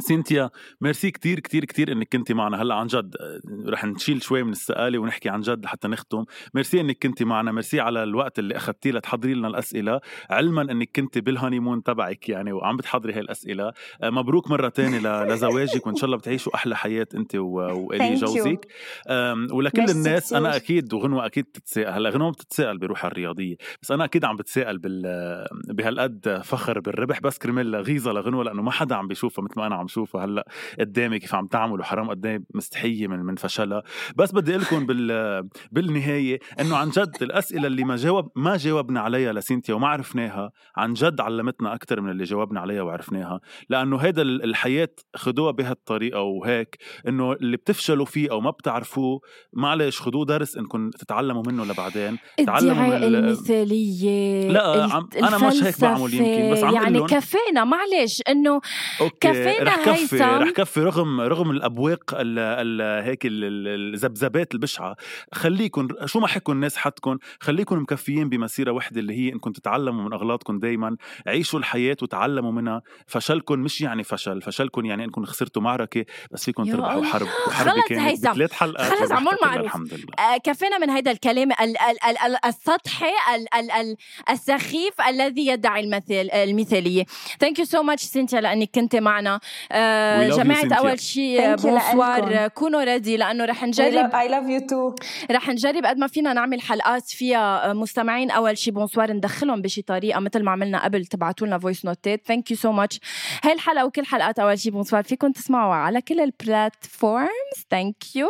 سينتيا ميرسي كتير كتير كتير انك كنتي معنا هلا عن جد آه، رح نشيل شوي من السقاله ونحكي عن جد لحتى نختم ميرسي انك كنتي معنا ميرسي على الوقت اللي اخذتيه لتحضري لنا الاسئله علما انك كنتي بالهانيمون تبعك يعني وعم بتحضري هاي الاسئله آه، مبروك مره تانية ل- <laughs> لزواجك وان شاء الله بتعيشوا احلى حياه انت و- والي
<laughs> Thank you.
جوزك أم، ولكل
ميرسي
الناس
كتير.
انا اكيد وغنوه اكيد بتتساءل هلا غنوه بتتساءل بروحها الرياضيه بس انا اكيد عم بتساءل بال بهالقد فخر بالربح بس كرمال لا غيظه لغنوه لانه ما حدا عم بيشوفها مثل ما انا عم شوفها هلا قدامي كيف عم تعمل وحرام قدامي مستحيه من من فشلها بس بدي اقول لكم بال بالنهايه انه عن جد الاسئله اللي ما جاوب ما جاوبنا عليها لسينتيا وما عرفناها عن جد علمتنا اكثر من اللي جاوبنا عليها وعرفناها لانه هيدا ال- الحياه خدوها بهالطريقه وهيك انه اللي بتفشلوا فيه او ما بتعرفوه معلش خدوه درس انكم تتعلموا منه لبعدين تعلموا من
الدعاء
ال-
المثالية
لا،
الت-
عم- أنا مش هيك بعمل يمكن، بس عم
الفلسفة، يعني
قلن.
كفينا معلش انه
اوكي
كفينا
رح كفي
هيثم.
رح كفي رغم رغم الابواق ال ال هيك ال- ال- الذبذبات البشعه خليكم شو ما حكوا الناس حتكم خليكم مكفيين بمسيره وحده اللي هي انكم تتعلموا من اغلاطكم دائما عيشوا الحياه وتعلموا منها فشلكم مش يعني فشل فشلكم يعني انكم خسرتوا معركه بس فيكم
يا
تربحوا
الله.
حرب وحرب
خلص
كانت
هيثم.
بثلاث حلقات
خلص
ربحتها
عمول
كلها،
معروف.
الحمد لله
آه، كفينا من هيدا الكلام ال- ال- ال- ال- السطحي ال- ال- ال- السخيف الذي يدعي المثال المثالية ثانك يو سو ماتش سينتيا لأنك كنت معنا آه،
We love you،
جماعة
سينتيا.
أول شيء
Thank you لإلكم.
بونسوار كونوا ريدي لأنه رح نجرب
اي لاف يو تو
رح نجرب قد ما فينا نعمل حلقات فيها آه، مستمعين اول شي بونسوار ندخلهم بشي طريقه مثل ما عملنا قبل تبعتوا لنا فويس نوتات ثانك يو سو ماتش هاي الحلقه وكل حلقات اول شي بونسوار فيكم تسمعوا على كل البلاتفورمز ثانك يو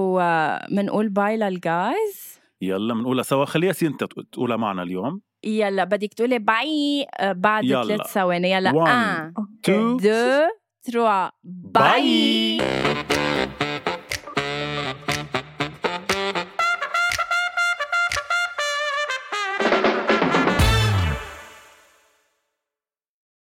ومنقول باي للجايز
يلا بنقولها سوا خليها سينتا تقولها معنا اليوم
يلا بدك تقولي باي آه، بعد
يلا.
ثلاث آه. ثواني يلا
One,
1
تو
2 3 باي